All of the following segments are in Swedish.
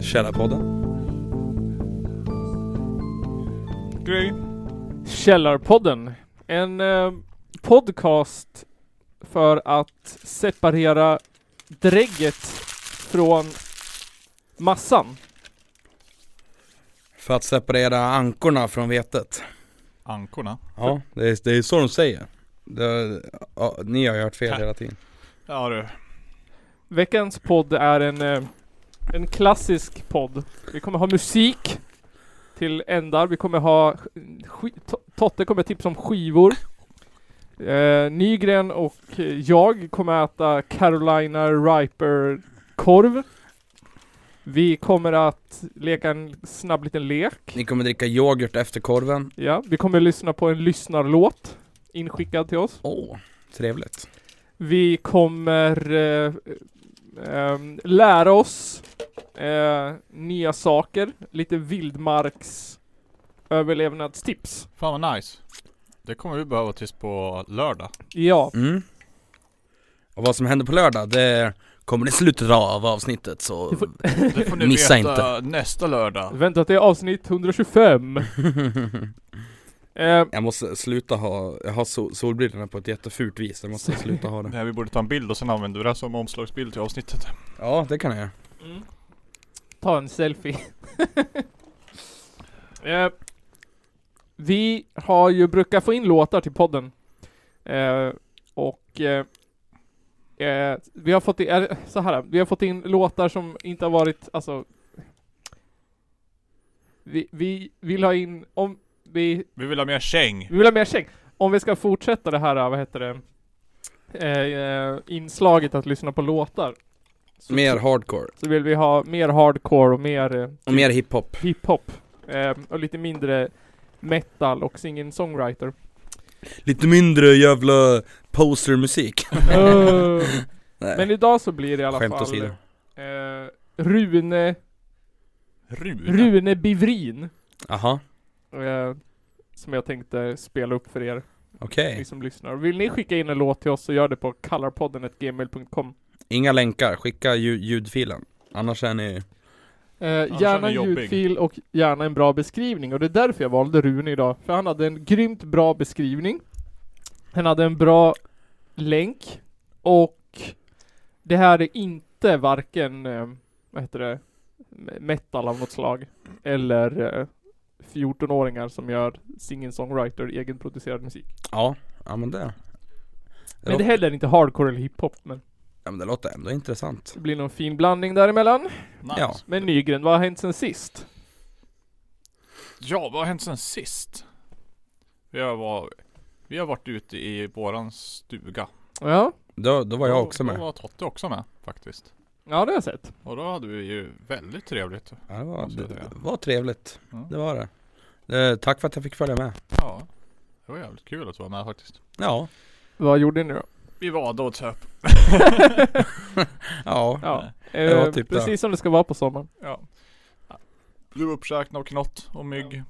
Källarpodden. Gry. Källarpodden. En eh, podcast för att separera drägget från massan. För att separera ankorna från vetet. Ankorna. Ja, det är, det är så de säger. Det, ja, ni har ju hört fel hela tiden. Ja du. Veckans podd är en, eh, en klassisk podd. Vi kommer ha musik till ändar. Vi kommer ha... Sk- To- Totte kommer tipsa om skivor. Eh, Nygren och eh, jag kommer äta Carolina Riper-korv. Vi kommer att leka en snabb liten lek. Ni kommer dricka yoghurt efter korven. Ja, vi kommer lyssna på en lyssnarlåt inskickad till oss. Åh, trevligt. Vi kommer eh, ehm, lära oss eh, nya saker, lite vildmarks överlevnadstips. Fan vad nice. Det kommer vi behöva tills på lördag. Ja, Mm. Och vad som händer på lördag, det kommer i slutet av avsnittet så... Det får ni Missa veta nästa lördag. vänta till avsnitt 125. Eh, Jag måste sluta ha, jag har sol, solbrillorna på ett jättefult vis, jag måste sluta ha det. Nej, vi borde ta en bild och sen använder vi det här som omslagsbild till avsnittet. Ja, det kan jag göra. ta en selfie. eh, vi har ju brukat få in låtar till podden. Eh, och eh, eh, vi har fått in, eh, så här, vi har fått in låtar som inte har varit, alltså vi, vi vill ha in, om vi, Vi vill ha mer käng. vi vill ha mer check. Om vi ska fortsätta det här, vad heter det, eh, eh, inslaget att lyssna på låtar. Så, Mer hardcore, så vill vi ha mer hardcore och mer eh, och mer hiphop. hiphop. Eh, och lite mindre metal och singing-songwriter. Lite mindre jävla posermusik. Eh, Nej, men idag så blir det i alla skämt fall åsido. eh, Rune, Rune. Rune Bivrin. Jaha, Eh, som jag tänkte spela upp för er, okej. ni som lyssnar. Vill ni skicka in en låt till oss så gör det på kallarpodden.gmail.com Inga länkar, skicka ljud, ljudfilen. Annars är ni... Eh, Annars är gärna den en jobbig. ljudfil och gärna en bra beskrivning och det är därför jag valde Rune idag. För han hade en grymt bra beskrivning. Han hade en bra länk och det här är inte varken, eh, vad heter det, me- metal av något slag eller eh, 14-åringar som gör singing-songwriter egenproducerad musik. Ja, ja men det... Men det är heller inte hardcore eller hiphop men Ja men det låter ändå intressant. det blir någon fin blandning däremellan. Nice. Ja. Ja. Men Nygren, vad har hänt sen sist? vad har hänt sen sist? Vi har, var, vi har varit ute i våran stuga. Ja, Då, då var jag också Då med. var Totte också med faktiskt. ja det har jag sett. Och då hade vi ju väldigt trevligt. Ja, det, var, Måste det, jag säga. det var trevligt, Ja. det var det. Eh, tack för att jag fick följa med. Ja. Det var jävligt kul att vara med faktiskt. Ja, Vad gjorde ni då? Vi var då typ. ja. Ja, Det var eh, typ det. precis som det ska vara på sommaren. Ja. Blev uppsökna av knott och mygg.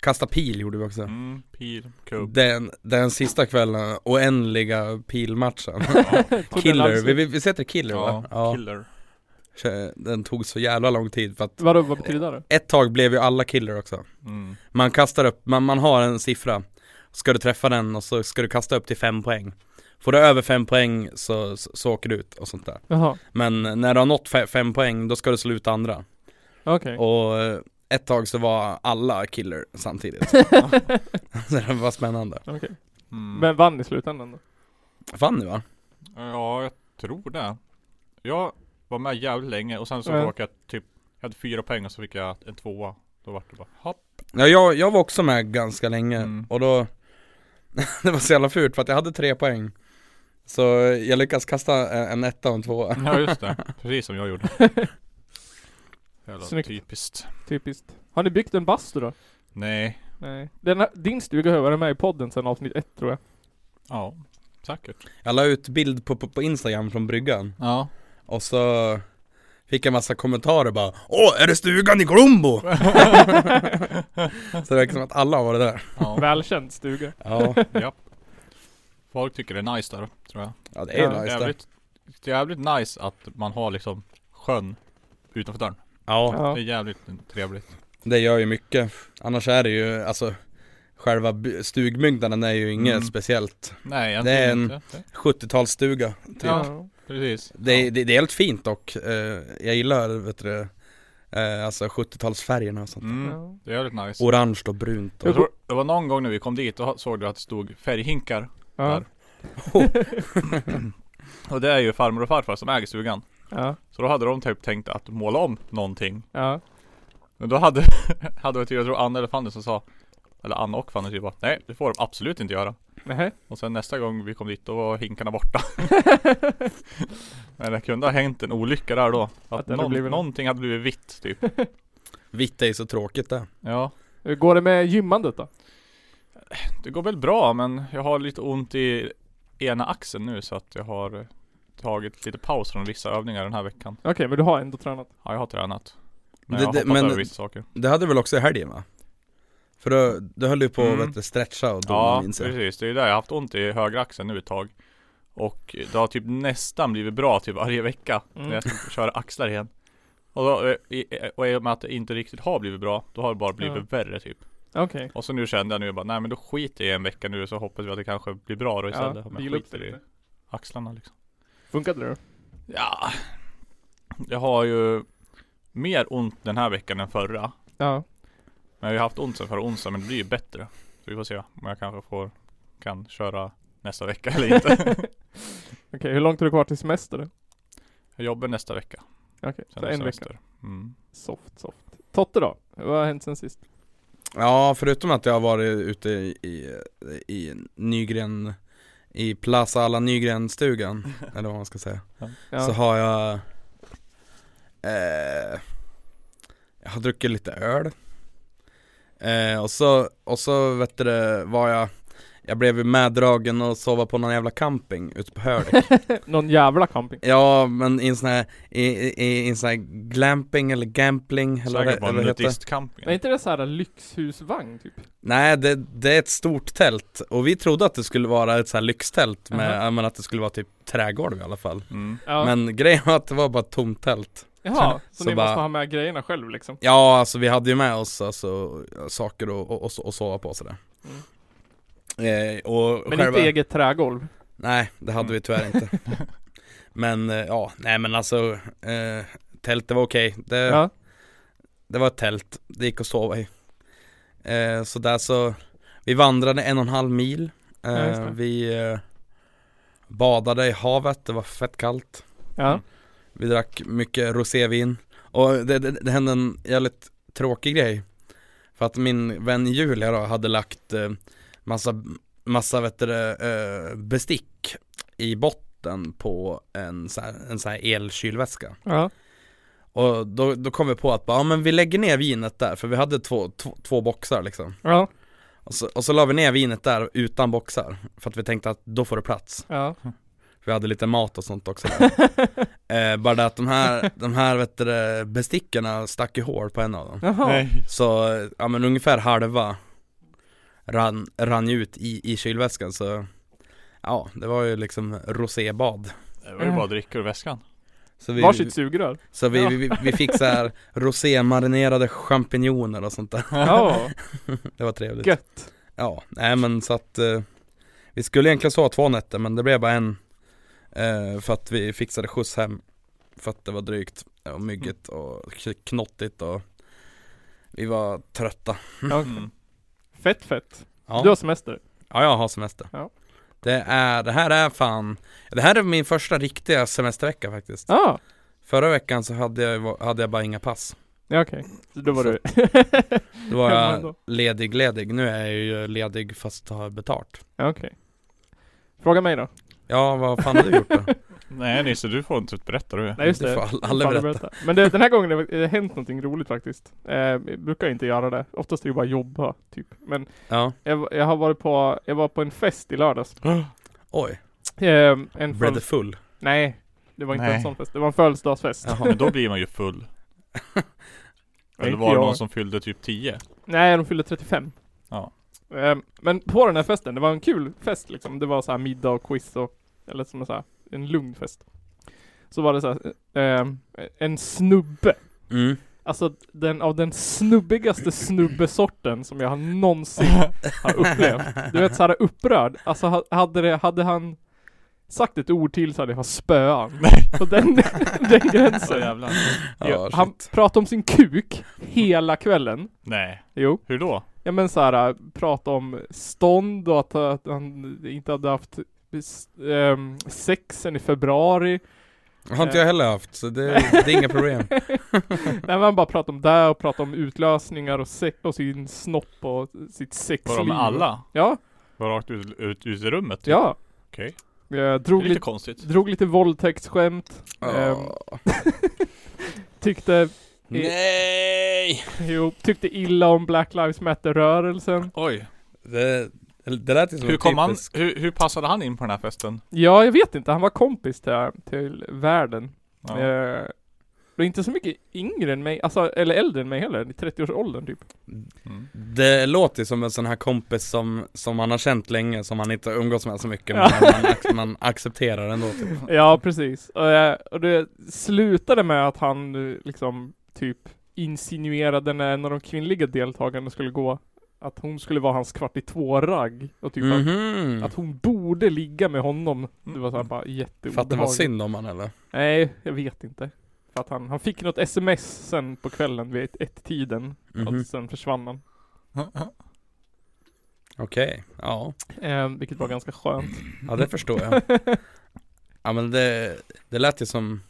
Kasta pil gjorde vi också. Mm, pil, kubb. Den, den sista kvällen, oändliga pilmatchen. Tog den Killer, alls- vi, vi, vi sätter killer Ja, va? Ja. killer. Den tog så jävla lång tid för att Vadå, vad betyder det? ett tag blev ju alla killer också. Mm. Man kastar upp, man, man har en siffra Ska du träffa den och så ska du kasta upp till fem poäng Får du över fem poäng så, så, så åker du ut och sånt där Jaha, Men när du har nått fe, fem poäng då ska du sluta andra okej. Och eh, ett tag så var alla killer samtidigt Så det var spännande Okej. Mm. Men vann i slutändan då? Fanny va? Ja, jag tror det. Jag var med jävligt länge och sen så Ja. råkade jag typ, jag hade fyra poäng och så fick jag en tvåa. Då vart det bara hopp. Ja jag, jag var också med ganska länge Mm. och då Det var så jävla fult för att jag hade tre poäng Så jag lyckades kasta eh, en, en etta och en tvåa Ja just det, precis som jag gjorde. Jävla Snyggt. typiskt. Typiskt. Har ni byggt en bastu då? Nej. Nej. Den här, din stuga har varit med i podden sedan avsnitt ett tror jag. Ja, säkert. Jag la ut bild på, på, på Instagram från bryggan Ja. Och så fick jag massa kommentarer bara Åh, är det stugan i Glombo? så det verkar som att alla har varit där ja. Välkänd stuga. Ja, ja. Folk tycker det är nice där, tror jag. Ja det är ju Ja, nice det. jävligt, jävligt nice att man har liksom sjön utanför dörren. Ja, Ja. Det är jävligt trevligt. det gör ju mycket. Annars är det ju, alltså Själva by- stugmyndanen är ju inget Mm. speciellt Nej, Det är egentligen en- inte. Det- 70-talsstuga Ja, Ja. precis. det, är- det, det är helt fint dock, Eh, jag gillar vet du, eh, alltså 70-talsfärgerna och sånt Mm, Ja. det är jävligt nice. Orange och brunt och... Jag tror, det var någon gång när vi kom dit, då såg du att det stod färghinkar. Ja. Och det är ju farmor och farfar som äger stugan. Ja. Så då hade de typ tänkt att måla om någonting. Ja. Men då hade, hade vi tur, jag tror Anna eller Fanny som sa Eller Anna och Fanny typ bara, Nej det får de absolut inte göra Nej. Och sen nästa gång vi kom dit då var hinkarna borta Men det kunde ha hänt en olycka där då Att, Att det hade någon, blivit- någonting hade blivit vitt typ Vitt är ju så tråkigt det Ja Hur går det med gymmandet då? Det går väl bra men jag har lite ont i ena axeln nu så att jag har eh, tagit lite paus från vissa övningar den här veckan Okej, men du har ändå tränat? Ja jag har tränat Men Det- jag har det- hoppat men- över vissa saker Det hade väl också i helgen va? För då, du höll ju på Mm. att vet du, stretcha och då Ja minns jag precis, det är ju där jag har haft ont i högra axeln nu ett tag Och det har typ nästan blivit bra typ varje vecka Mm. när jag ska köra axlar igen och, då, eh, i- och i och med att det inte riktigt har blivit bra Då har det bara blivit Ja. värre typ Okej. Och så nu kände jag nu bara nej men då skiter jag i en vecka nu så hoppas vi att det kanske blir bra då istället Ja, Om jag vila upp skiter dig i lite. axlarna liksom Funkade det då? Ja Jag har ju mer ont den här veckan än förra Ja. Men jag har haft ont sen förra onsdagen men det blir ju bättre Så vi får se om jag kanske får Kan köra nästa vecka eller inte Okej, hur långt är det kvar till semester? då? Jag jobbar nästa vecka. Okej, Sen så en vecka. semester. Mm. Soft, soft. Totte då? Vad har hänt sen sist? Ja, förutom att jag har varit ute i, i, i Nygren I Plaza alla Nygren-stugan, eller vad man ska säga Ja. Så har jag eh, Jag har druckit lite öl eh, Och så, och så vet du det, var jag Jag blev ju meddragen och sova på någon jävla camping ute på Höör Eh, Någon jävla camping. Ja, men i en sån här, i, i, i en sån här glamping eller gampling eller vad Säkert det- på eller en vad det heter nudistcamping. Men är inte det så här lyxhusvagn typ? Nej, det, det är ett stort tält och vi trodde att det skulle vara ett så här lyxtält med, Aha. ja, men att det skulle vara typ trägolv i alla fall Mm. Ja. Men grejen var att det var bara ett tomt tält Jaha, så, så ni bara- måste ha med grejerna själv liksom? Ja, alltså vi hade ju med oss alltså, saker och, och, och, so- och sova på och sådär eh, och Mm. Men själva... inte eget trägolv? Nej, det hade Mm. vi tyvärr inte Men eh, ja, nej men alltså eh, Tältet var okej, det, Ja. det var ett tält, det gick att sova i eh, Så där så, vi vandrade en och en halv mil eh, Ja, just det. Vi eh, badade i havet, det var fett kallt Ja. Vi drack mycket rosévin Och det, det, det hände en jävligt tråkig grej För att min vän Julia då hade lagt eh, massa, massa vet du, det, eh, bestick i botten på en sån här, en sån här elkylväska Ja. och då, då kom vi på att bara, ja, men vi lägger ner vinet där, för vi hade två, två, två boxar liksom Ja. och så, och så la vi ner vinet där utan boxar, för att vi tänkte att då får det plats Ja. Vi hade lite mat och sånt också där. eh, Bara det att de här, de här vet du, det, bestickorna stack i hål på en av dem Jaha. Nej. Så, eh, ja men ungefär halva rann, rann ju ut i, i kylväskan så Ja, det var ju liksom rosébad Det var ju bara drickor ur väskan. så Varsitt sugrör? Så vi, vi, vi fick så här rosémarinerade champinjoner och sånt där Ja. Det var trevligt Gött. Ja, nej men så att eh, Vi skulle egentligen sova två nätter men det blev bara en eh, För att vi fixade skjuts hem För att det var drygt eh, och myggigt Mm. och k- knottigt och Vi var trötta Ja, okej. Mm. Fett fett. Ja, Du har semester? ja jag har semester Ja. det, är, det här är fan Det här är min första riktiga semestervecka faktiskt Ja. Förra veckan så hade jag, ju va- hade jag bara inga pass Ja okej. Så Då var du... Då var Hemma jag ändå. ledig ledig, nu är jag ju ledig fast har betalt Ja, Okej. Fråga mig då. Ja vad fan har du gjort då? Nej Nisse, du får inte berätta du. Nej just Det det. får Du alla- får alla berätta. Men det, den här gången har det hänt någonting roligt faktiskt. Eh, jag brukar inte göra det. Oftast är det bara jobba, typ. Men Ja, jag, jag har varit på, jag var på en fest i lördags. oj, Eh, en Bread föl- full Nej, det var inte Nej. en sån fest. Det var en födelsedagsfest. Jaha. Men då blir man ju full. Nej, Eller inte var det jag. någon som fyllde typ 10? Nej, de fyllde 35. Ja. Ehm, Men på den här festen, det var en kul fest liksom. Det var så här middag och quiz och, eller som en så här, en lugn fest. Så var det så här, ehm, en snubbe. Mm. Alltså den, av den snubbigaste snubbesorten som jag har någonsin har upplevt. Du vet såhär upprörd. Alltså ha- hade, det, hade han sagt ett ord till så hade jag spöat han. På den, den Så gränsen. jävlar. Ja, han shit. pratade om sin kuk hela kvällen. Nej. Jo. Hur då? Ja men såhär, prata om stånd och att, att han inte hade haft ehm, sexen i februari. Har inte jag heller haft, så det, det är inga problem. Nej man bara pratade om det och pratade om utlösningar och, sex, och sin snopp och sitt Var sexliv. de med alla? Ja, Var rakt ut, ut, ut i rummet? typ? ja. Okej. Jag Det är drog lite lite, konstigt. drog lite våldtäktsskämt, Ehm. Åh. tyckte, Nej! jo, tyckte illa om Black Lives Matter-rörelsen. Oj. Det, det lät ju som Hur en kom han, typisk- hur, hur passade han in på den här festen? Ja, jag vet inte, han var kompis till, till världen. Ja. Eh, och inte så mycket yngre än mig, alltså, eller äldre än mig heller, i 30-årsåldern typ. Mm. Det låter ju som en sån här kompis som, som man har känt länge, som man inte umgås med så mycket, Ja. men man, ac- man accepterar ändå typ. Ja, precis. Och, eh, och det slutade med att han eh, liksom typ insinuerade när en av de kvinnliga deltagarna skulle gå, att hon skulle vara hans kvart i två-ragg. Och typ att Mhm. Att hon borde ligga med honom. Det var såhär För bara att det var jätteobehagligt. synd om han eller? Nej, jag vet inte. För att han, han fick något sms sen på kvällen vid ett, ett tiden. Mhm. Och sen försvann han. Okej, ja. Eh, vilket var ganska skönt. Ja det förstår jag. Ja men det, det lät ju som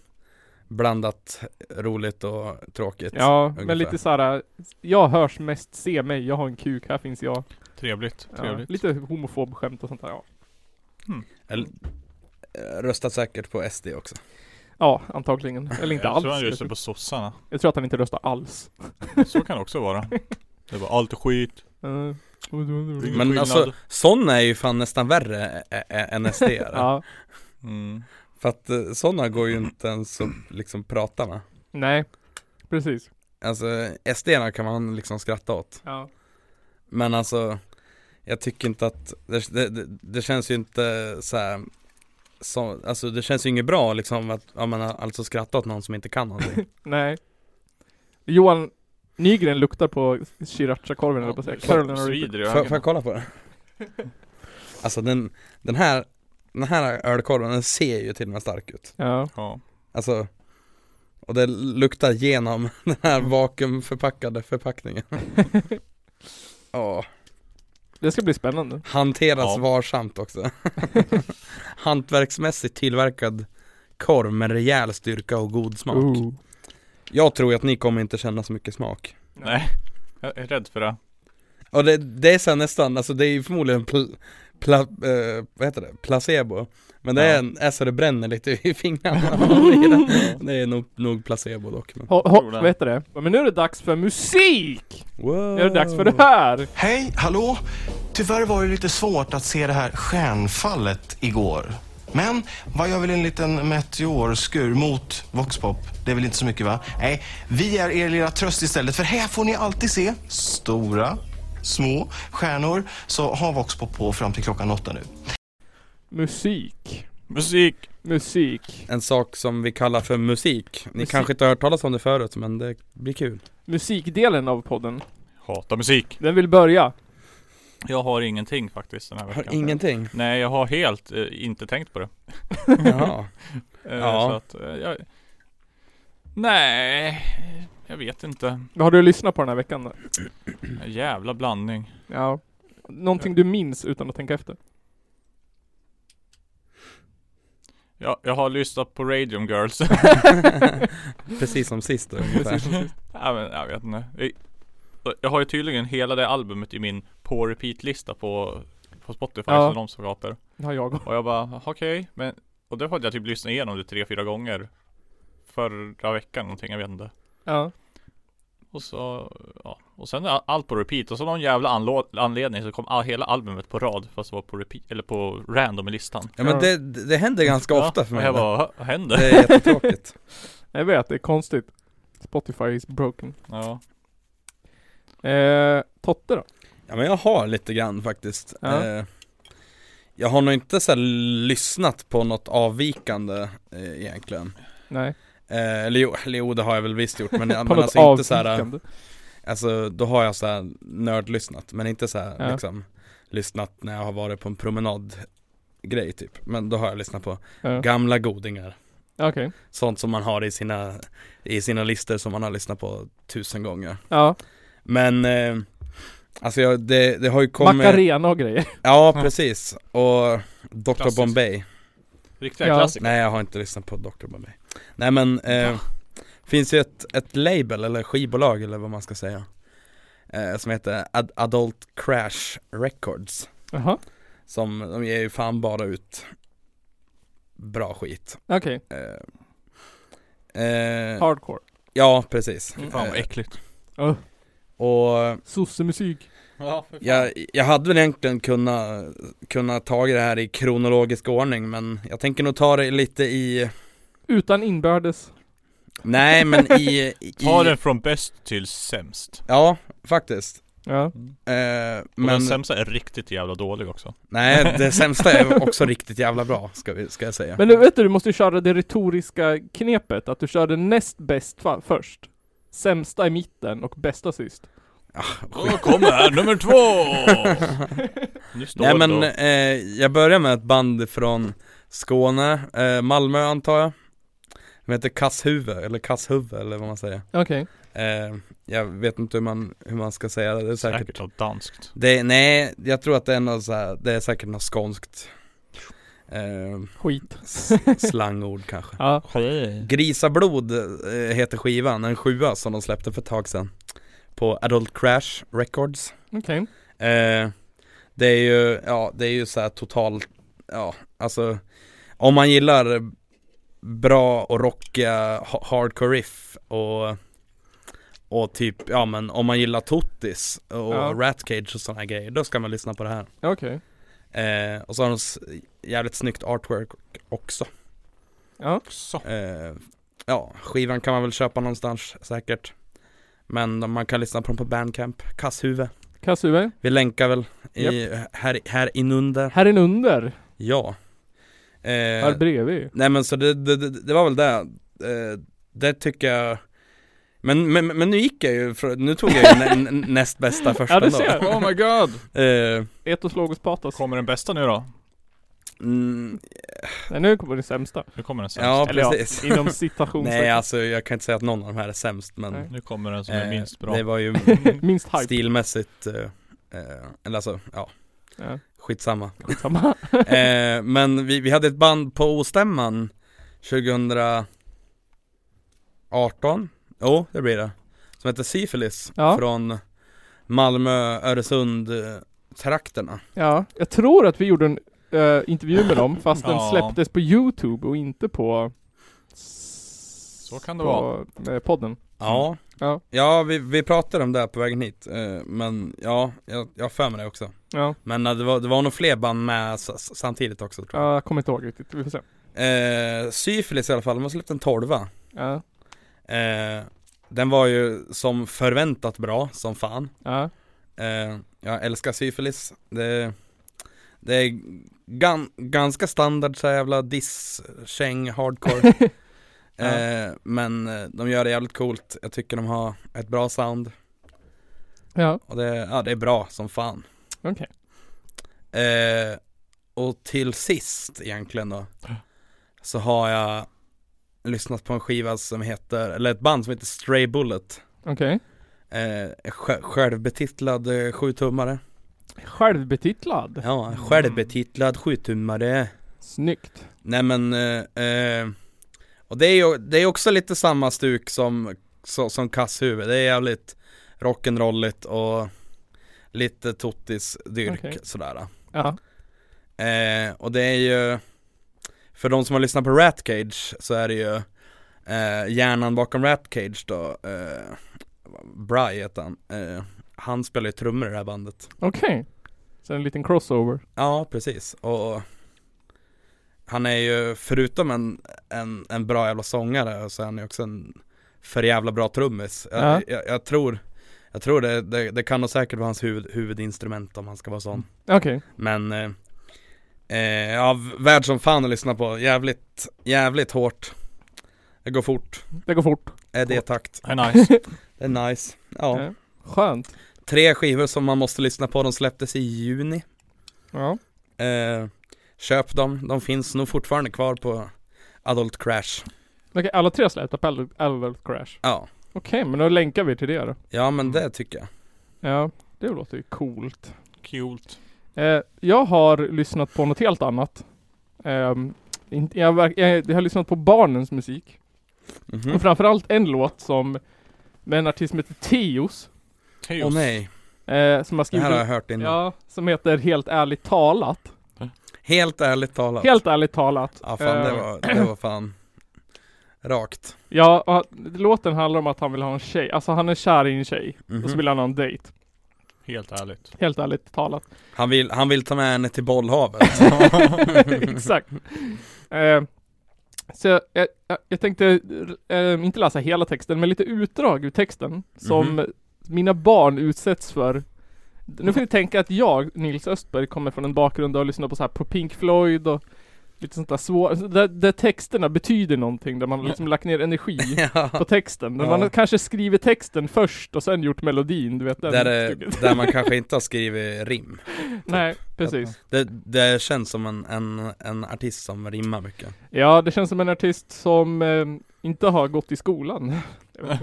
blandat roligt och tråkigt. ja, ungefär. men lite såhär, jag hörs mest, se mig, jag har en kuk, här finns jag. Trevligt, Ja, trevligt. lite homofobskämt och sånt där ja. Röstat säkert på SD också. Ja, antagligen. Eller inte Jag tror han alls. röstade på sossarna. Jag tror att han inte röstar alls. Så kan det också vara. Det var allt är skit. Eh, Ingen Men skillnad. alltså, sådana är ju fan nästan värre ä- ä- än SD är. ja, Mm. För att eh, sådana går ju inte ens att liksom prata med. nej. Precis. Alltså sd -erna kan man liksom skratta åt. Ja. Men alltså, jag tycker inte att, det, det, det- det känns ju inte så här, så, alltså det känns ju inget bra liksom att, ja men alltså skratta åt någon som inte kan någonting. Nej. Johan Nygren luktar på srirachakorven eller på att säga. Carolina Reaper. Svider i får, får jag ögonen. kolla på det? Alltså den, den här, den här ölkorven den ser ju till och med stark ut. Ja. Ja. Alltså, och det luktar genom den här Mm. vakuumförpackade förpackningen. Ja, Det ska bli spännande. hanteras Ja. varsamt också. Hantverksmässigt tillverkad korv med rejäl styrka och god smak. Ooh. Jag tror ju att ni kommer inte känna så mycket smak. Nej. Jag är rädd för det. Och det, det är så här nästan, alltså det är ju förmodligen pl, pla, eh, vad heter det? placebo. Men det är, är så det bränner lite i fingrarna. det är nog, nog placebo dock. Men. Ho, Tror ho, det. vad heter det? Men nu är det dags för musik! Wow. Nu är det dags för det här! Hej, hallå! Tyvärr var det lite svårt att se det här stjärnfallet igår. Men vad gör väl en liten meteorskur mot Voxpop? Det är väl inte så mycket va? Nej, vi är er lilla tröst istället för här får ni alltid se stora, små stjärnor. Så ha Voxpop på fram till klockan åtta nu. Musik. Musik! Musik. en sak som vi kallar för musik. Ni Musik. kanske inte har hört talas om det förut men det blir kul. Musikdelen av podden. Hata musik. Den vill börja. Jag har ingenting faktiskt den här Jag veckan. har ingenting. Nej, jag har helt eh, inte tänkt på det. Jaha. Eh, Ja. Så att, eh, jag... Nej, jag vet inte. Vad har du lyssnat på den här veckan då? En jävla blandning. Ja. Någonting du minns utan att tänka efter? Jag, jag har lyssnat på Radium Girls. Precis som sist då, Precis ungefär. som sist. Ja, men jag vet inte. Jag- Jag har ju tydligen hela det albumet i min på repeat-lista på, på Spotify Ja. som de som pratar. Det har jag Och jag bara, okej, men Och det hade jag typ lyssnat igenom det tre, fyra gånger Förra veckan någonting, jag vet inte Ja. Och så, ja Och sen är all- allt på repeat och så någon jävla anlå- anledning så kom all, hela albumet på rad Fast det var på repeat, eller på random i listan Ja men det, det händer ganska ofta för mig. Och jag bara, "Hä? vad händer? Det är jättetråkigt. Jag vet, det är konstigt. Spotify is broken. Ja Eh, Totte då? Ja men jag har lite grann faktiskt Ja. eh, Jag har nog inte så här lyssnat på något avvikande eh, egentligen Nej. eh, eller, jo, eller jo det har jag väl visst gjort men, men På något alltså inte så här, avvikande. Alltså då har jag så här nördlyssnat men inte så här Ja. liksom Lyssnat när jag har varit på en promenad grej typ Men då har jag lyssnat på Ja. gamla godingar Okej. Sånt som man har i sina, i sina listor som man har lyssnat på tusen gånger Ja. Men eh, Alltså jag, det, det har ju kommit Macarena och grejer. Ja Ja. precis, och Dr Klassiskt. Bombay Riktiga Ja. klassiker. Nej jag har inte lyssnat på Dr Bombay Nej men, eh, finns ju ett, ett label eller skivbolag eller vad man ska säga eh, Som heter Ad- Adult Crash Records Jaha. Som, de ger ju fan bara ut bra skit Okej. eh, eh, Hardcore. Ja precis Fy Fan vad Eh, äckligt. Och Sossemusik. Ja, jag, jag hade väl egentligen kunnat, kunnat ta det här i kronologisk ordning men jag tänker nog ta det lite i Utan inbördes. Nej men i, i Ta den från bäst till sämst. Ja, faktiskt Ja. eh, Och den Men, sämsta är riktigt jävla dålig också. nej det sämsta är också riktigt jävla bra ska, vi, ska jag säga Men du vet du, du måste ju köra det retoriska knepet. Att du kör det näst bäst fa- först. Sämsta i mitten och bästa sist. Då kommer här nummer två! Nu står Nej det men då. eh, jag börjar med ett band från Skåne, eh, Malmö antar jag De heter Kasshuvud, eller Kasshuvud eller vad man säger Okej. eh, Jag vet inte hur man, hur man ska säga det, det är säkert, Säkert något danskt. Det, nej, jag tror att det är något så här, det är säkert något skånskt eh, Skit. s- Slangord kanske Ja. Grisablod eh, heter skivan, en sjua som de släppte för ett tag sedan På Adult Crash Records Okej. eh, Det är ju, ja det är ju så här totalt, ja alltså Om man gillar bra och rockiga ha- hardcore riff och och typ, ja men om man gillar Tottis och Ja. Rat Cage och sådana grejer, då ska man lyssna på det här Okej. eh, Och så har de s- jävligt snyggt artwork också Ja. Så. Eh, ja, skivan kan man väl köpa någonstans säkert. Men de- man kan lyssna på dem på Bandcamp, Kasshuvud. Kassuve. Vi länkar väl i, här, här inunder. Här inunder. Ja. Eh, Här bredvid. nej men så det, det, det det var väl det. Eh, det tycker jag. Men, men, men nu gick jag ju, från- nu tog jag ju nä, nä- näst bästa först Ja, du ändå. ser. Oh my god! Eh, Etos logos patos. Kommer den bästa nu då? mm, Nej, nu kommer det sämsta. Nu kommer den sämsta. ja, Eller ja, precis. Inom citations. Nej alltså jag kan inte säga att någon av de här är sämst men Nej. Nu kommer den som är eh, minst bra. det var ju Minst hype. stilmässigt, eh, eh, eller alltså, ja, Ja. skitsamma. Samma. eh, men vi, vi hade ett band på Ostämman 2018, jo det blir det, som heter Syfilis Ja. från Malmö, Öresund eh, trakterna. Ja, jag tror att vi gjorde en eh, intervju med dem fast den Ja. släpptes på Youtube och inte på Så kan det på, eh, podden. Ja, Ja. ja vi, vi pratade om det här på vägen hit, eh, men ja, jag, jag har för mig det också. Ja, Men eh, det, var, det var nog fler band med s- s- samtidigt också tror jag. ja, jag kommer inte ihåg riktigt, vi får se. Eh, Syfilis i alla fall, de har släppt en tolva. Ja, Eh, den var ju som förväntat bra som fan. ja, Eh, jag älskar syfilis. Det, det är gan, ganska standard så här jävla diss, käng, hardcore. eh, men eh, de gör det jävligt coolt. Jag tycker de har ett bra sound. ja, Och det, ja, det är bra som fan. okej. Eh, och till sist egentligen då. Så har jag lyssnat på en skiva som heter, eller ett band som heter Stray Bullet. Okej. Eh, sj- självbetitlad eh, sjutummare Självbetitlad. Ja, självbetitlad sjutummare Snyggt. Nej men, eh, eh, och det är ju det är också lite samma stuk som, så, som kasshuvud Det är jävligt rock'n'rolligt och lite tottis dyrk Okej. sådär Ja, eh, Och det är ju, för de som har lyssnat på Rat Cage så är det ju eh, hjärnan bakom Rat Cage då, eh, Bry heter han eh, Han spelar ju trummor i det här bandet okej. Så en liten crossover. Ja, precis. Och han är ju, förutom en, en, en bra jävla sångare, så är han ju också en för jävla bra trummis. Jag, Ja. jag, jag tror, Jag tror det, det, det kan nog säkert vara hans huvud, huvudinstrument om han ska vara sån Okej. Men eh, eh, ja, v- värd som fan att lyssna på, jävligt, jävligt hårt Det går fort, Det går fort. är det takt, Det är nice. det är nice Ja, Ja. Eh, Skönt. tre skivor som man måste lyssna på, de släpptes i juni Ja. eh, Köp dem, de finns nog fortfarande kvar på Adult Crash Okej, alla tre släppte på Adult- Adult Crash. Ja, Okej, men då länkar vi till det då. ja men det tycker jag Ja, det låter ju coolt. Coolt. Eh, jag har lyssnat på något helt annat. Ehm, inte- jag, verk- eh, jag, jag har lyssnat på barnens musik. Mhm. Och framförallt en låt som med en artist som heter Teos. Teos. Åh nej, Eh, som det har skrivit här har jag en, hört innan ja, som heter Helt ärligt talat. Helt ärligt talat Helt ärligt talat. Ja fan det Eh, var, det var fan Rakt Ja, och han- låten handlar om att han vill ha en tjej. Alltså han är kär i en tjej. Och så Mhm. vill han ha en dejt. Helt ärligt. Helt ärligt talat. han, vill, han vill ta med henne till bollhavet Exakt. Eh, så jag, jag, jag tänkte, eh, inte läsa hela texten, men lite utdrag ur texten som Mhm. mina barn utsätts för. Nu får ni tänka att jag, Nils Östberg, kommer från en bakgrund och lyssnar på så här på Pink Floyd och lite sånt där svårt, där, där texterna betyder någonting, där man har liksom lagt ner energi ja. på texten. Där Ja. man har kanske skrivit texten först och sen gjort melodin, du vet den där, det- stycket. där man kanske inte har skrivit rim Nej, precis. Det, det känns som en, en, en artist som rimmar mycket Ja, det känns som en artist som eh, inte har gått i skolan.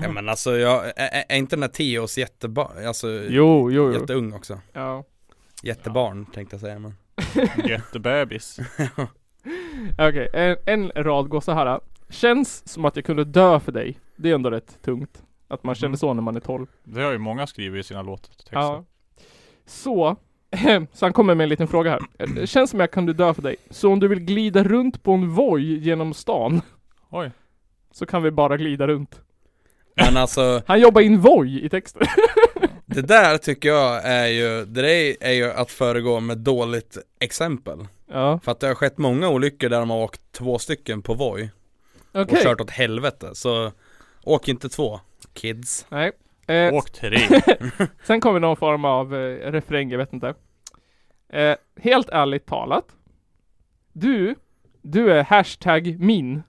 ja, men alltså jag, är, är- är inte den här Theos jätteba, alltså Jo, jo, jo. jätteung också? Ja. Jättebarn tänkte jag säga men Jättebebis. Okej, en, en rad går så här. Känns som att jag kunde dö för dig. Det är ändå rätt tungt. Att man känner Mm. så när man är 12. Det har ju många skrivit i sina låttexter. Ja. Så, så han kommer med en liten fråga här. Eh, Känns som jag kunde dö för dig. Så om du vill glida runt på en voj genom stan Oj. så kan vi bara glida runt. Men alltså Han jobbar in voj i texten. det där tycker jag är ju, det där är ju att föregå med dåligt exempel Ja, För att det har skett många olyckor där de har åkt två stycken på Voi och okej. kört åt helvete så åk inte två kids Nej. Eh, Och tre. Sen kommer någon form av eh, refräng, jag vet inte. Eh, helt ärligt talat. Du, du är hashtag min.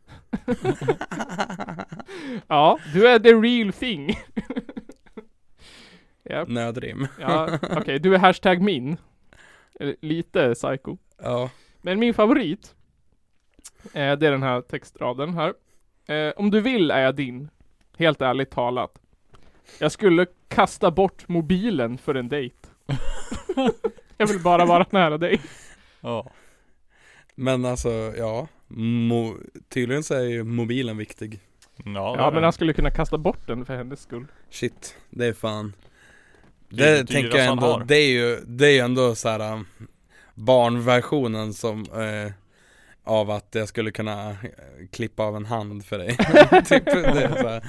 ja, du är the real thing. Japp, Nödrim ja, okej, du är hashtag min. Eh, Lite psycho. Ja Men min favorit, eh, det är den här textraden här. Eh, om du vill är jag din. Helt ärligt talat. Jag skulle kasta bort mobilen för en dejt. jag vill bara vara nära dig. Ja. Men alltså, ja Mo- Tydligen så är ju mobilen viktig Ja, Ja men alltså- han skulle kunna kasta bort den för hennes skull. Shit, det är fan Det Det är det tänker dyraste jag han ändå, har. det är ju, det är ju ändå så här um, Barnversionen som eh, Av att jag skulle kunna eh, klippa av en hand för dig Typ, det är så här,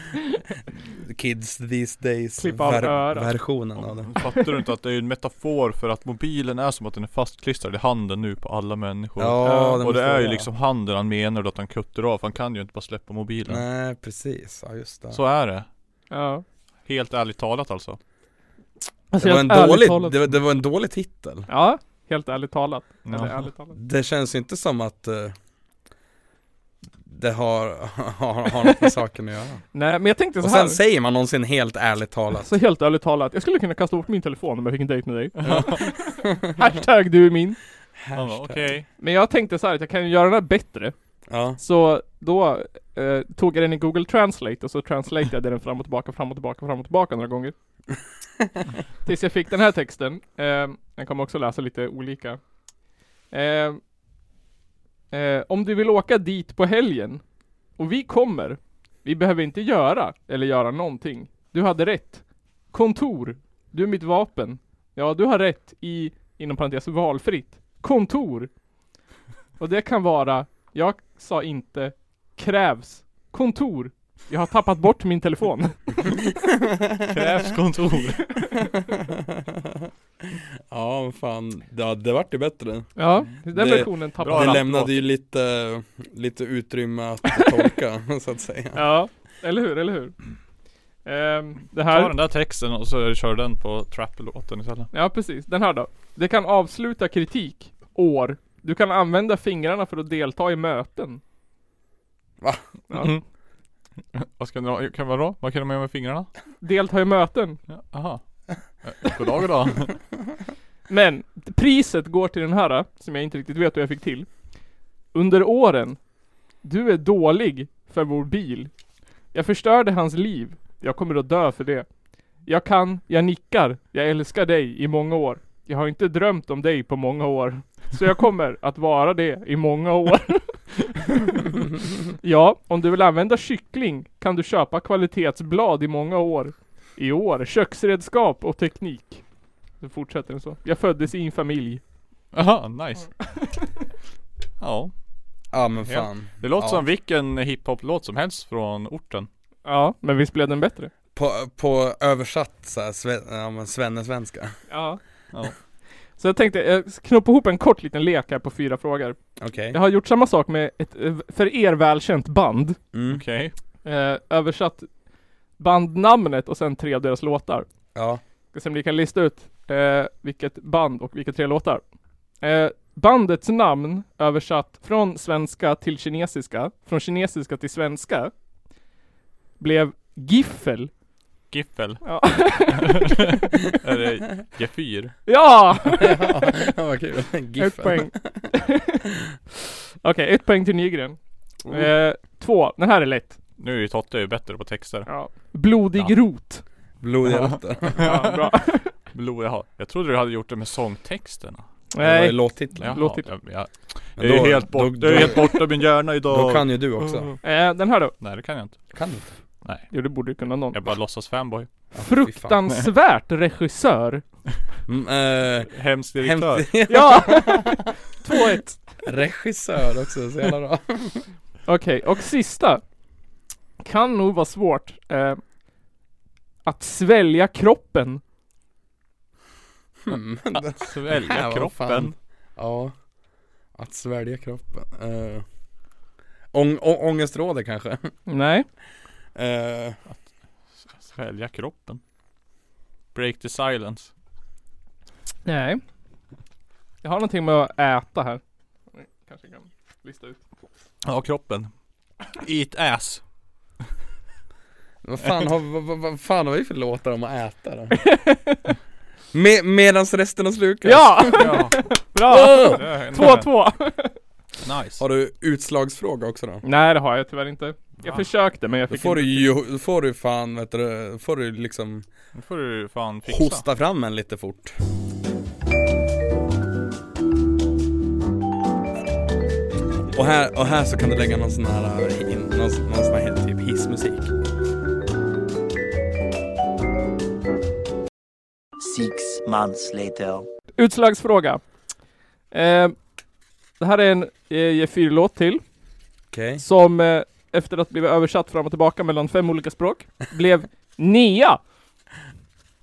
Kids these days Klippa av örat. versionen av det Fattar du inte att det är en metafor för att mobilen är som att den är fastklistrad i handen nu på alla människor? Ja, och måste det är ju vara. liksom handen han menar då att han kuttar av, han kan ju inte bara släppa mobilen. Nej precis, ja just det Så är det. Ja. Helt ärligt talat alltså. Alltså, det, var en helt ärligt dålig, talat- det, var, det var en dålig titel Ja, helt ärligt talat. Eller Ja. ärligt talat. Det känns ju inte som att eh, Det har, har, har något med saken att göra Nej men jag tänkte så Och här. sen säger man någonsin helt ärligt talat Så helt ärligt talat, jag skulle kunna kasta bort min telefon om jag fick en dejt med dig. hashtag du är min. Han bara, Hashtag. Okej. Men jag tänkte så här att jag kan ju göra den här bättre. Ja, Så då eh, tog jag den i Google Translate och så translateade jag den fram och tillbaka, fram och tillbaka, fram och tillbaka några gånger. Tills jag fick den här texten. Eh, den kommer också läsa lite olika. Eh, eh, om du vill åka dit på helgen och vi kommer. Vi behöver inte göra eller göra någonting. Du hade rätt. Kontor. Du är mitt vapen. Ja, du har rätt i, inom parentes, valfritt. Kontor. Och det kan vara jag sa inte krävs kontor. Jag har tappat bort min telefon. Krävs kontor. ja men fan, ja, det vart ju bättre Ja, den Det- versionen Det tappade Mm, Bra rapplåt. jag. lämnade ju lite, lite utrymme att tolka så att säga Ja, eller hur, eller hur. Ehm, det Ta den här. där texten och så kör den på trap-låten istället. Ja precis, den här då. Det kan avsluta kritik. År. Du kan använda fingrarna för att delta i möten. Va? Ja. Mhm. Vad ska man, kan man då? Vad kan man göra med fingrarna? Delta i möten. Ja, aha. Eh, Goddag goddag. Men priset går till den här, äh, som jag inte riktigt vet hur jag fick till. Under åren. Du är dålig för vår bil. Jag förstörde hans liv. Jag kommer att dö för det. Jag kan, jag nickar, jag älskar dig i många år. Jag har inte drömt om dig på många år. Så jag kommer att vara det i många år. ja, om du vill använda kyckling kan du köpa kvalitetsblad i många år. I år, köksredskap och teknik. Så fortsätter den så. Jag föddes i en familj. Aha, nice. Ja. Ja men fan Det låter Ja. som vilken hiphop-låt som helst från orten. Ja, men visst blev den bättre? På, på översatt såhär, sve, ja men svenne-svenska Ja. Ja. Så jag tänkte, jag knoppa ihop en kort liten lek här på fyra frågor. Okej, Jag har gjort samma sak med ett eh, för er välkänt band. mm. Okej. Eh, översatt bandnamnet och sen tre av deras låtar. ja, Ska se om ni kan lista ut eh, vilket band och vilka tre låtar. Eh, bandets namn översatt från svenska till kinesiska, från kinesiska till svenska, blev Giffel. Giffel. Ja. Är det Gefyr? ja! ja vad kul, Ett poäng. Okej, ett poäng till Nygren. Eh, två, den här är lätt. Nu är ju Totte ju bättre på texter. Ja. Blodig Ja. rot. Eh, Blodiga rötter, Ja, bra. Blod, jaha. Jag trodde du hade gjort det med sångtexterna. det var ju Nej. låttitlar Jaha, Låt titta. jag, jag, Men jag är då- ju helt borta, då, jag är då, helt Oh. borta i min hjärna idag. då kan ju du också, Eh, den här då? Nej det kan jag inte. kan du inte? Jo, det borde ju kunna någon. Jag bara låtsas fanboy. Ja, fy fan. Fruktansvärt regissör. Mm, eh, Hemsk direktör. Hämt, Ja! 2-1. regissör också, så jävla bra Okej, och sista. Kan nog vara svårt. Eh, att svälja kroppen. hmm. Mm, Att Svälja Vad kroppen. fan. Ja, att svälja kroppen uh. Ång, å, ångestråde kanske? Nej. Eh, Svälja kroppen. Break the silence. Nej. Jag har någonting med att äta här. Kanske kan lista ut. Ja, kroppen. Eat ass. vad, fan har, vad, vad, vad fan har vi för låtar om att äta då? Me, medans resten av slukar? Ja! Ja. Bra! det är- 2-2. Nice. Har du utslagsfråga också då? Nej det har jag tyvärr inte. Jag Va? försökte men jag Då fick får inte. du ju, då får du fan vet du, då får du liksom Nu får du fan fixa. hosta fram en lite fort och här, och här så kan du lägga någon sån här, eh, in- någon, någon sån här typ hissmusik Six months later. Utslagsfråga. Eh, det här är en eh, G4-låt till. Okej Som eh, efter att blivit översatt fram och tillbaka mellan fem olika språk. Blev Nia.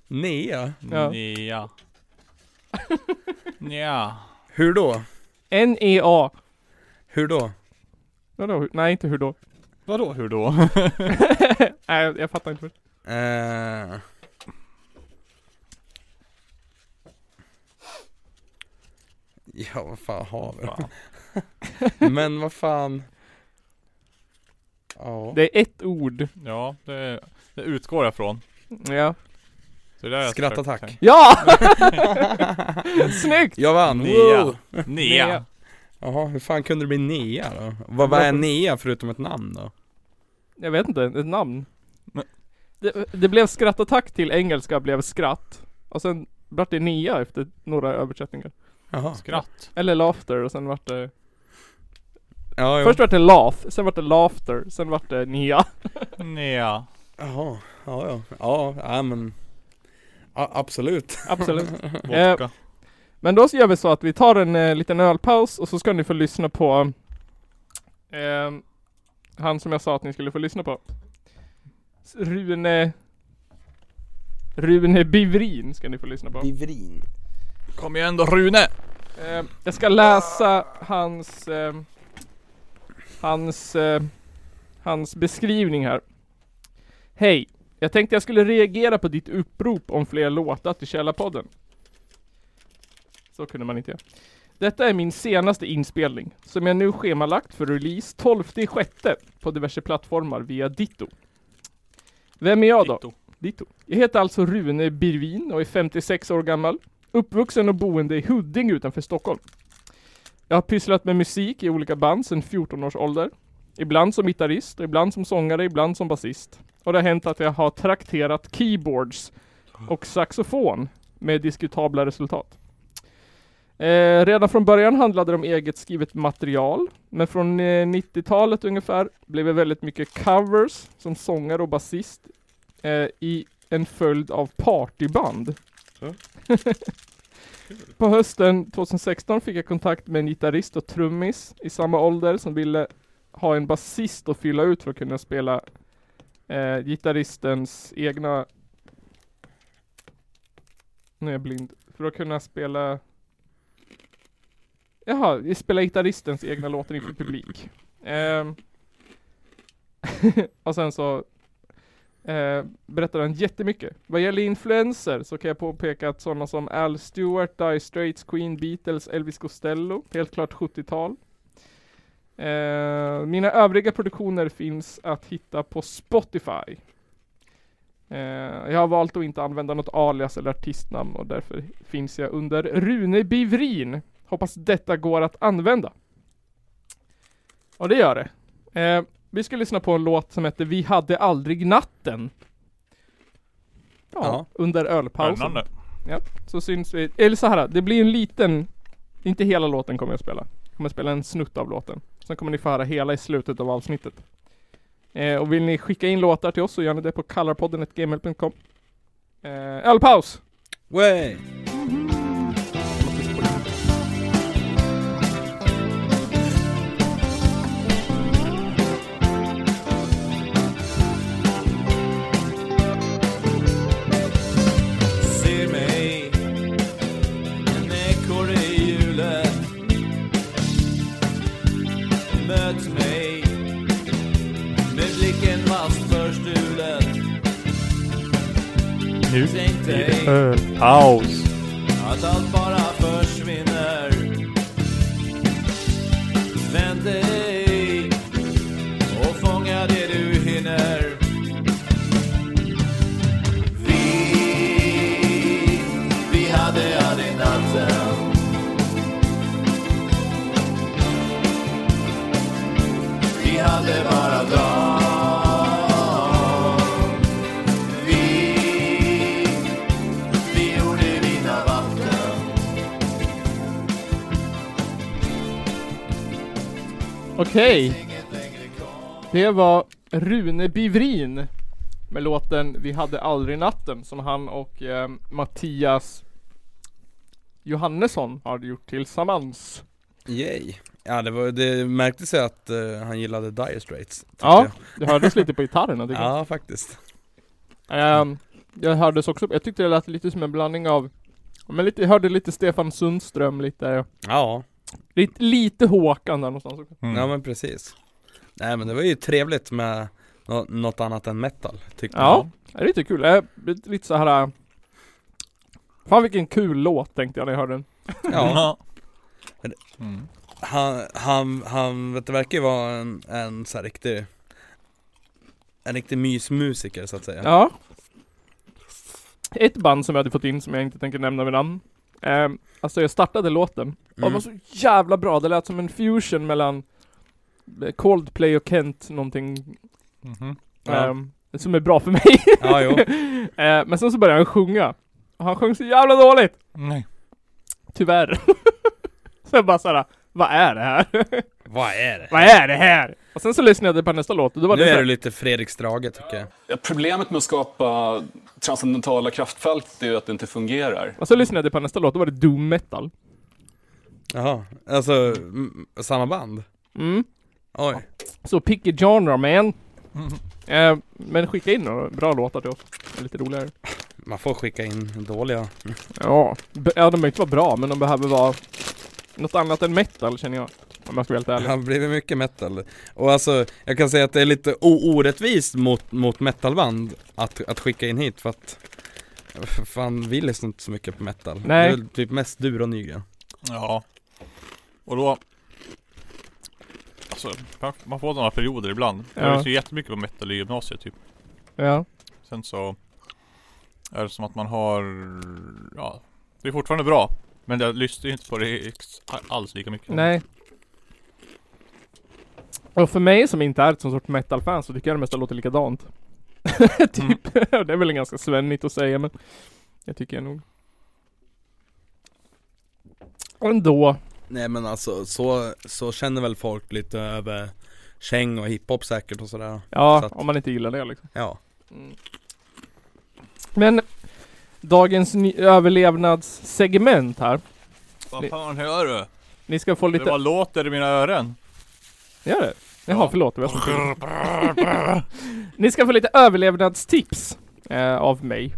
Nea? Ja. Nja. Nja. Hur då? N-E-A. Hur då? E Vadå? hur- Nej inte hur då. Vadå hur då? Nej jag fattar inte. först. Eh. Ja, vad fan har vi Fan. då? Men vad fan Ja, Det är ett ord. Ja, det, det utgår jag från. Ja. Så det är jag Skrattattack. försöker Ja! Snyggt! jag vann! Nea. Wow. tänka. Nja. Nja. Jaha, hur fan kunde det bli Nea då? Vad, vad är Nea förutom ett namn då? Jag vet inte, ett namn. Nej. Det, det blev skrattattack till engelska blev skratt. Och sen vart det nia efter några översättningar. Jaha Skratt. Eller laughter och sen vart det... Ja, jo. Först vart det laugh, sen vart det laughter, sen vart det nia. Nja. Jaha, ja ja, ja, ja men ja, Absolut Absolut. Vodka. Men då så gör vi så att vi tar en eh, liten ölpaus och så ska ni få lyssna på ehm, han som jag sa att ni skulle få lyssna på. S- Rune... Rune Bivrin ska ni få lyssna på. Bivrin Kom igen då Rune! Eh, jag ska läsa hans ehm, eh, hans eh, hans beskrivning här. Hej. Jag tänkte jag skulle reagera på ditt upprop om fler låtar till Källarpodden. Så kunde man inte göra. Detta är min senaste inspelning, som jag nu schemalagt för release 12 i sjätte på diverse plattformar via Ditto. Vem är jag då? Ditto. Ditto. Jag heter alltså Rune Birvin och är 56 år gammal. Uppvuxen och boende i Huddinge utanför Stockholm. Jag har pysslat med musik i olika band sedan 14 års ålder. Ibland som gitarrist, ibland som sångare, ibland som basist. Och det har hänt att jag har trakterat keyboards och saxofon med diskutabla resultat. Eh, redan från början handlade det om eget skrivet material, men från eh, 90-talet ungefär blev det väldigt mycket covers som sångare och basist eh, i en följd av partyband. Ja. På hösten 2016 fick jag kontakt med en gitarrist och trummis i samma ålder som ville ha en basist att fylla ut för att kunna spela eh, gitarristens egna... Nu är jag blind. För att kunna spela... Jaha, spela gitarristens egna låtar inför publik. Ehm. och sen så eh, berättar han jättemycket. Vad gäller influenser så kan jag påpeka att sådana som Al Stewart, Dire Straits, Queen, Beatles, Elvis Costello, helt klart 70-tal. Eh, mina övriga produktioner finns att hitta på Spotify. Eh, jag har valt att inte använda något alias eller artistnamn och därför finns jag under Rune Bivrin. Hoppas detta går att använda. Och det gör det. Eh, vi ska lyssna på en låt som heter Vi hade aldrig natten. Ja, Ja. under ölpausen. Spännande. Så syns vi, eller så här, det blir en liten, inte hela låten kommer jag spela. Jag kommer spela en snutt av låten. Sen kommer ni få höra hela i slutet av avsnittet. Eh, och vill ni skicka in låtar till oss så gör ni det på colorpodden.gmail.com eh, Ölpaus! Way. ser mig En ekorre i hjulet Möt mig Med blicken fast förstulet Nu Tänk blir det dig Paus. att allt bara försvinner Vänd dig och fånga det du hinner Vi, vi hade aldrig natten Vi hade bara dagen Vi vi gjorde vita vatten Okej, det var Rune Bivrin med låten Vi hade aldrig natten som han och eh, Mattias Johannesson har gjort tillsammans. Yay. Ja det, var, det märktes ju att eh, han gillade Dire Straits tyckte Ja, jag. det hördes lite på gitarrerna tycker jag. Ja faktiskt Ehm, jag hördes också, jag tyckte det lät lite som en blandning av men lite, jag hörde lite Stefan Sundström, lite, Ja, lite, lite Håkan där någonstans också. Mm. ja men precis Nej men det var ju trevligt med nå- något annat än metal tyckte Ja, det är lite kul. Äh, lite, lite så här. äh, Fan vilken kul låt tänkte jag när jag hörde den. jag. Ja Men- Mm. Han, han, han vet, det verkar ju vara en, en så här riktig En riktig mysmusiker så att säga Ja. Ett band som jag hade fått in som jag inte tänker nämna vid namn. Ehm, alltså jag startade låten. Och det var mm. så jävla bra, det lät som en fusion mellan eh, Coldplay och Kent någonting. Mhm. Ja. ehm, som är bra för mig. ja jo, Eh, men sen så började han sjunga. Och han sjöng så jävla dåligt! Nej. Tyvärr. så jag bara såhär, vad är det här? vad är det? vad är det här? Och sen så lyssnade jag på nästa låt och då var Nu det, är så du här, lite Fredrik Strage tycker jag Ja, Problemet med att skapa transcendentala kraftfält är ju att det inte fungerar. Och så lyssnade jag på nästa låt, då var det doom metal. Jaha, alltså m- samma band? Mm. Oj, Så picky genre man. Mm. Eh, men skicka in några bra låtar till oss. Det är lite roligare. man får skicka in dåliga Ja, be- ja de behöver inte vara bra men de behöver vara något annat än metal känner jag. Om jag ska vara helt ärlig. Han har blivit mycket metal. Och alltså, jag kan säga att det är lite o- orättvist mot, mot metalband att, att skicka in hit för att Fan, vi lyssnar inte så mycket på metal. Nej. Det är väl typ mest du och Nygren. Ja. Och då... Alltså, man- man får sådana perioder ibland. Ja. Jag lyssnar ju jättemycket på metal i gymnasiet typ. Ja. Sen så... Är det som att man har... Ja. Det är fortfarande bra. Men jag lyssnar ju inte på det ex- alls lika mycket. Nej. Och för mig som inte är ett sånt sorts metal-fan så tycker jag det mesta låter likadant. typ. Mm. det är väl ganska svennigt att säga men jag tycker jag nog. Ändå. Nej men alltså, så, så känner väl folk lite över käng och hiphop säkert och sådär. Ja, Så att- om man inte gillar det liksom. Ja. Men dagens ny- överlevnadssegment här. Vad fan hör du? Ni ska få Det lite... bara låter i mina öron. Gör det? Jaha, förlåt. det var så- Ni ska få lite överlevnadstips eh, av mig.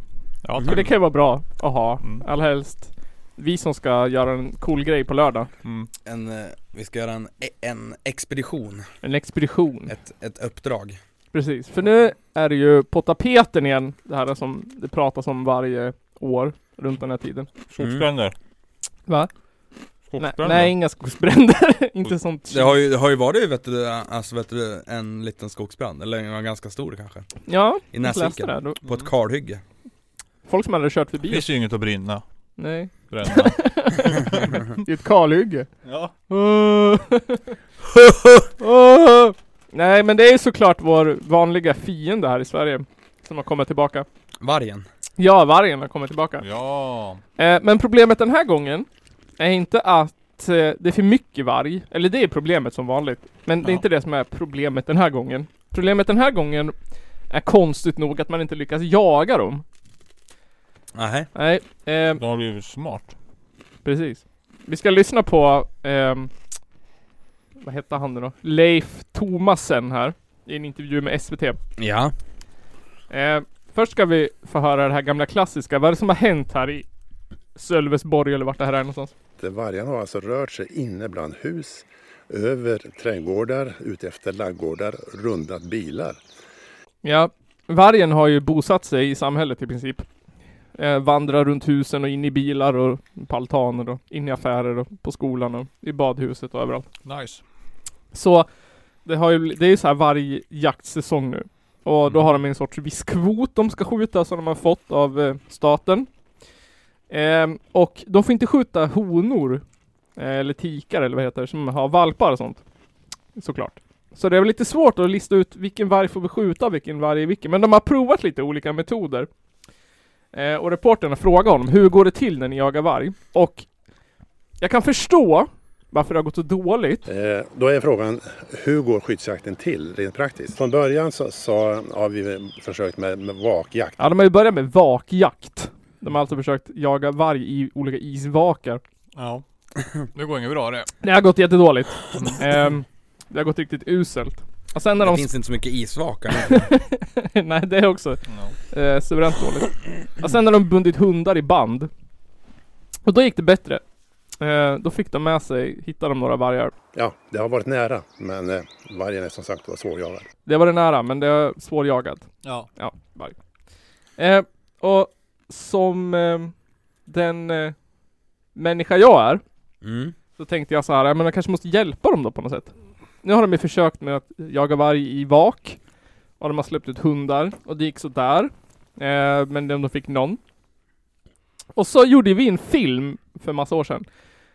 Ja, För det Mm. tack. kan ju vara bra att ha, Mm. allhelst vi som ska göra en cool grej på lördag. Mm. En, eh, vi ska göra en, en expedition, En expedition. ett, ett uppdrag. Precis. För nu är det ju på tapeten igen, det här som det pratas om varje år runt den här tiden. Skogsbränder. Va? Nej, Skogsbränder. nej inga skogsbränder. Inte sånt Det har ju, det har ju varit vet du, alltså, vet du, en liten skogsbrand, eller en ganska stor kanske. Ja, I jag läste Näsviken. det. här. Mm. Då- På ett kalhygge. Folk som hade kört Det förbi. finns ju inget att brinna. Nej. Bränna. Det är ett kalhygge. ja. Åh. Åh. Nej men det är såklart vår vanliga fiende här i Sverige. Som har kommit tillbaka. Vargen. Ja, vargen har kommit tillbaka. Ja. Eh, men problemet den här gången är inte att eh, det är för mycket varg. Eller det är problemet som vanligt. Men det är Ja. inte det som är problemet den här gången. Problemet den här gången är konstigt nog att man inte lyckas jaga dem. Nej. Nej, eh, De har blivit smart. precis. Vi ska lyssna på ehm, Vad hette han nu då? Leif Thomassen här. I en intervju med SVT. Ja. Eh, först ska vi få höra det här gamla klassiska. Vad är det som har hänt här i Sölvesborg eller vart det här är någonstans? att vargarna har alltså rört sig inne bland hus, över trädgårdar, ute efter laggårdar, rundat bilar. Ja, vargen har ju bosatt sig i samhället i princip. Eh, vandrar runt husen och in i bilar och på altaner och in i affärer och på skolan och i badhuset och överallt. Nice. Så det, har ju, det är ju så här varg jaktsäsong nu. Och då har de en sorts viss kvot de ska skjuta som de har fått av eh, staten. Ehm, och de får inte skjuta honor eh, eller tikar eller vad heter det, som har valpar och sånt. Såklart. Så det är väl lite svårt att lista ut vilken varg får vi skjuta, vilken varg är vilken. Men de har provat lite olika metoder. Eh, och reporterna frågar honom, hur går det till när ni jagar varg? Och jag kan förstå varför det har gått så dåligt. Eh, då är frågan, hur går skyddsjakten till rent praktiskt? Från början så, så har vi försökt med, med vakjakt. Ja, de har ju börjat med vakjakt. De har alltså försökt jaga varg i olika isvakar. Ja. Det går inget bra det. Mm. Det har gått jättedåligt. Ehm, det har gått riktigt uselt. Och sen när Det de... finns inte så mycket isvakar. nej, det är också Ja. eh, suveränt dåligt. Och sen när de bundit hundar i band. Och då gick det bättre. Eh, då fick de med sig, hittade de några vargar. Ja, det har varit nära, men eh, vargen är som sagt var svårjagad. Det var det nära, men det är svårjagad. Ja. Ja, varg. Eh, och som eh, den eh, människa jag är. Mm. Så tänkte jag så här, ja, men jag kanske måste hjälpa dem då på något sätt. Nu har de ju försökt med att jaga varg i vak. Och de har släppt ut hundar och det gick sådär. Eh, men de de fick någon. Och så gjorde vi en film för massa år sedan.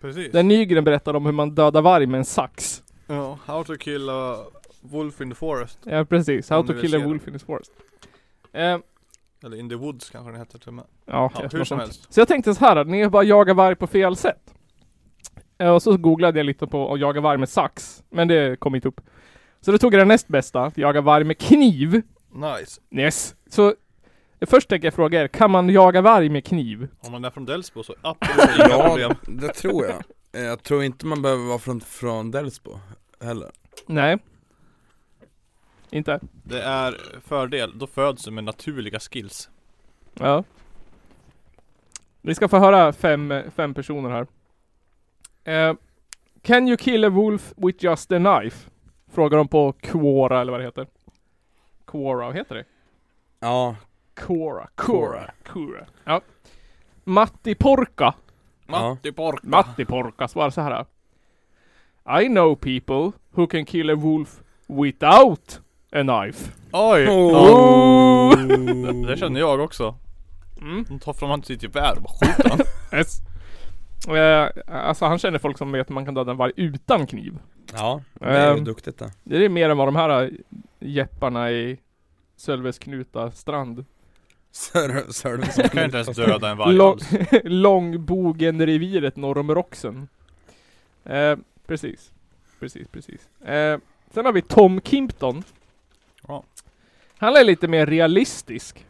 Precis. Där Nygren berättade om hur man dödar varg med en sax. Ja. How to kill a wolf in the forest. Ja precis, How Om to du vill kill a se den. wolf in his forest. Eh, Eller in the woods kanske den heter till och med. Ja, okej, Ja, något hur som sånt. helst. Så jag tänkte så här, att ni bara jagar varg på fel sätt. Eh, Och så googlade jag lite på att jaga varg med sax, men det kom inte upp. Så då tog jag den näst bästa, att jaga varg med kniv. Nice. Yes. Så eh, först tänker jag fråga er, kan man jaga varg med kniv? Om man är från Delsbo så absolut inga problem. det tror jag. Eh, Jag tror inte man behöver vara från, från Delsbo heller. Nej. Inte? Det är fördel. Då föds du med naturliga skills. Ja. Vi ska få höra fem, fem personer här. Eh, Can you kill a wolf with just a knife? Frågar de på Quora eller vad det heter. Quora, vad heter det? Ja, Quora, Quora, Quora. Ja. Matti Porka. Matti Pork. Matti Porka svarar så här. I know people who can kill a wolf without a knife. Oj! Oh. Eh, Det, det känner jag också. Mm. De tar fram sitt gevär och bara skjuter han. Yes. Eh, alltså han känner folk som vet att man kan döda en varg utan kniv. ja det är ju Ehm. duktigt det Det är mer än vad de här äh, jepparna i Sölves Knuta strand. Sör- Sörlund De kan ju inte ens döda en varg Lång, alls. Långbogenreviret norr om Roxen. Eh, precis. Precis, precis. Eh, sen har vi Tom Kimpton. Ja. Han är lite mer realistisk.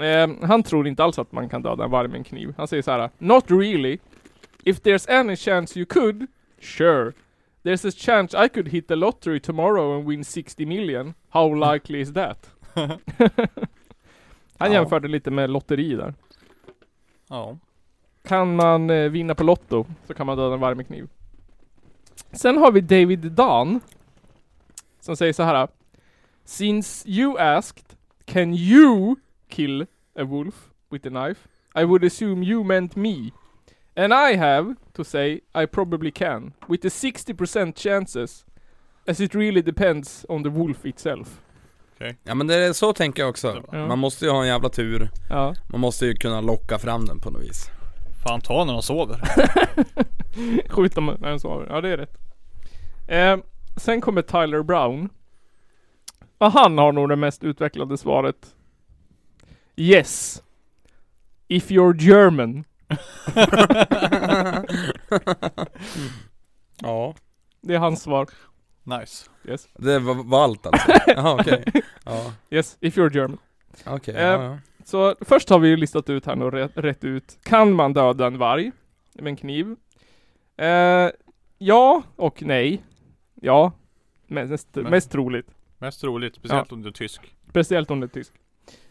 Eh, han tror inte alls att man kan döda en varg med en kniv. Han säger så här: Not really. If there's any chance you could, sure. There's a chance I could hit the lottery tomorrow and win 60 million. How likely is that? han Ja. jämförde lite med lotteri där. Ja. Kan man eh, vinna på Lotto så kan man döda en varg med kniv. Sen har vi David Dan. Som säger så här. Since you asked, can you kill a wolf with a knife? I would assume you meant me. And I have to say I probably can. With the 60% chances. As it really depends on the wolf itself. Ja men det är så tänker jag också, Ja. man måste ju ha en jävla tur Ja. Man måste ju kunna locka fram den på något vis Fan ta när de sover. Skjuta med när den sover. Ja, det är rätt. Eh, sen kommer Tyler Brown. Och han har nog det mest utvecklade svaret. Yes. If you're German. Ja Det är hans svar. Nice. Yes. Det var, var allt alltså? Jaha okej Ja, Yes, if you're German. okej, Eh, ja, ja. Så först har vi ju listat ut här nu och rätt, rätt ut. Kan man döda en varg med en kniv? Eh, ja och nej. Ja. Mest, Men- mest troligt. Mest troligt, speciellt om du är tysk. Speciellt om det är tysk.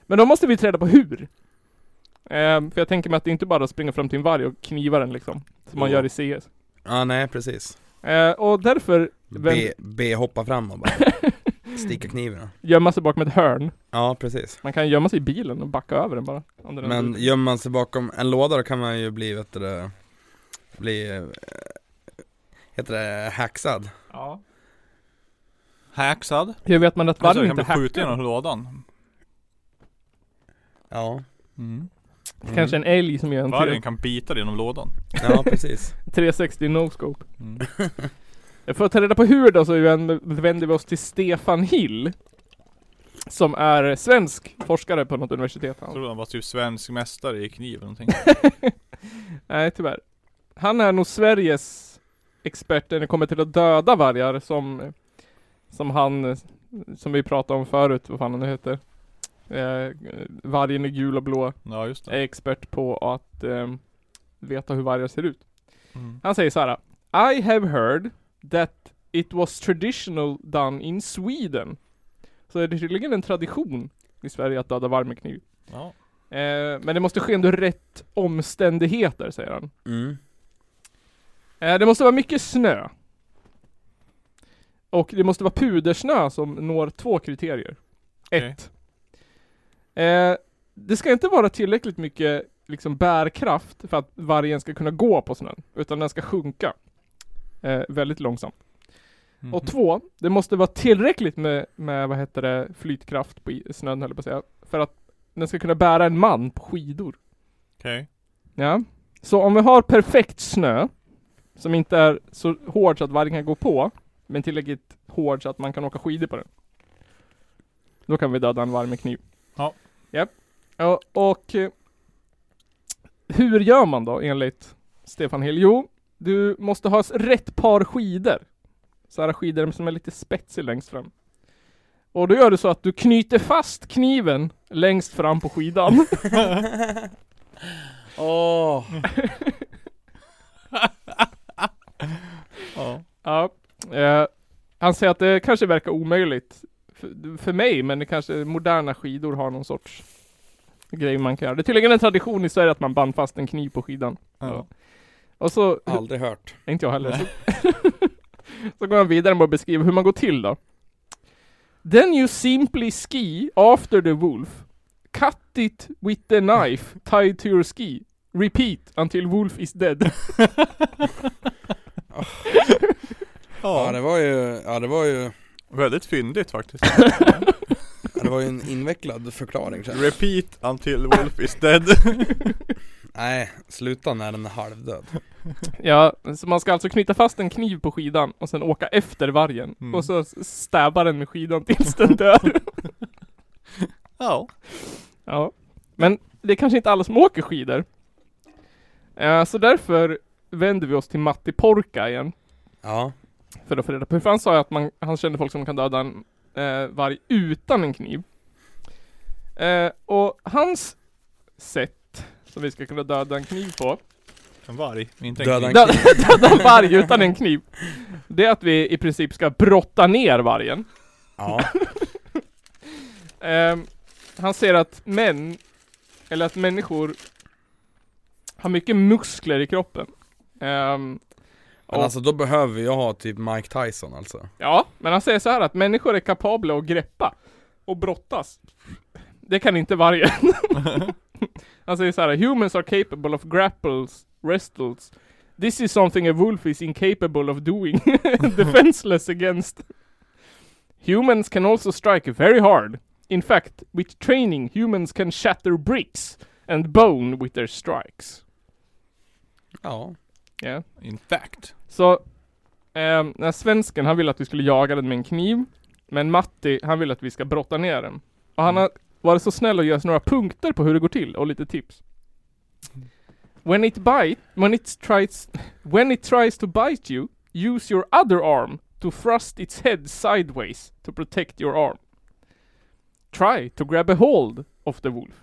Men då måste vi träda på hur. Ehm, för jag tänker mig att det är inte bara att springa fram till en varg och kniva den liksom. Som man Jo. gör i CS. ja nej precis Eh, och därför Vem- B, B hoppa fram och bara sticka kniven gömma sig bakom ett hörn. Ja precis Man kan gömma sig i bilen och backa över den bara. Om den Men gömmer man sig bakom en låda då kan man ju bli vet du, det, bli eh, Heter det hacksad? ja. Hacksad. Hur vet man att Alltså, du vargen kan inte bli skjuten hackar? genom lådan. Ja Mm. Mm. Kanske en älg som gör en Vargen tre- kan bita dig genom lådan. Ja precis 360 no-scope. Eh, Mm. För att ta reda på hur då så vänd- vänder vi oss till Stefan Hill. Som är svensk forskare på något universitet. Han. Jag trodde han var typ svensk mästare i kniv eller någonting. Nej, tyvärr. Han är nog Sveriges expert när det kommer till att döda vargar som, som han, eh, som vi pratade om förut, vad fan han nu heter. Eh, vargen är gul och blå, Ja just det. är expert på att eh, veta hur vargar ser ut. Mm. Han säger så här. I have heard that it was traditional done in Sweden. Så är det tydligen en tradition i Sverige att döda varg med kniv. Ja. Eh, men det måste ske under rätt omständigheter, säger han. mm. Eh, Det måste vara mycket snö. Och det måste vara pudersnö som når två kriterier. Okej. Ett. Eh, det ska inte vara tillräckligt mycket liksom, bärkraft för att vargen ska kunna gå på snön. Utan den ska sjunka. Eh, väldigt långsamt. Mhm. Och två, det måste vara tillräckligt med, med vad heter det, flytkraft på i- snön höll jag på att säga. För att den ska kunna bära en man på skidor. Okej. Ja. Så om vi har perfekt snö, som inte är så hård så att vargen kan gå på, men tillräckligt hård så att man kan åka skidor på den. Då kan vi döda en varg med kniv. Ja. Japp. Ja, och eh, hur gör man då enligt Stefan Hill? Jo, du måste ha s- rätt par skidor. Så här skidor som är lite spetsig längst fram. Och då gör du så att du knyter fast kniven längst fram på skidan. Åh, Ja. Ja, eh, han säger att det kanske verkar omöjligt för, för mig, men det kanske moderna skidor har någon sorts grej man kan göra. Det är tydligen en tradition i Sverige att man band fast en kniv på skidan. Ja. Och så, Aldrig hört. inte jag heller. Så, så går han vidare med att beskriva hur man går till då. Then you simply ski after the wolf. Cut it with the knife tied to your ski. Repeat until wolf is dead. Ja det var ju, ja det var ju, Väldigt fyndigt faktiskt. ja, det var ju en invecklad förklaring sen. Repeat until Wolf is dead. Nej, sluta när den är halvdöd. ja, så man ska alltså knyta fast en kniv på skidan och sen åka efter vargen. Mm. Och så stäbba den med skidan tills den dör. ja. Ja, men det är kanske inte alla som åker skidor. Eh, så därför vänder vi oss till Matti Porka igen. Ja, För att få reda på hur fan sa jag att man, han kände folk som kan döda en eh, varg utan en kniv. Eh, och hans sätt som vi ska kunna döda en kniv på. En varg. Inte en Döda kniv. en- Döda, döda en varg utan en kniv. Det är att vi i princip ska brotta ner vargen. ja, Ehm, han säger att män, eller att människor har mycket muskler i kroppen. Ehm, men och, alltså då behöver jag ha typ Mike Tyson alltså. Ja, men han säger så här att människor är kapabla att greppa och brottas. Det kan inte vargen. han säger så här, humans are capable of grapples, wrestles. This is something a wolf is incapable of doing, defenseless against. Humans can also strike very hard. In fact, with training, humans can shatter bricks and bone with their strikes. Ja, Yeah. In fact. Så ehm, den här svensken han vill att vi skulle jaga den med en kniv Men Matti han vill att vi ska brotta ner den Och han har varit så snäll och ge oss några punkter på hur det går till och lite tips When it bite, when it tries, when it tries to bite you Use your other arm to thrust its head sideways to protect your arm Try to grab a hold of the wolf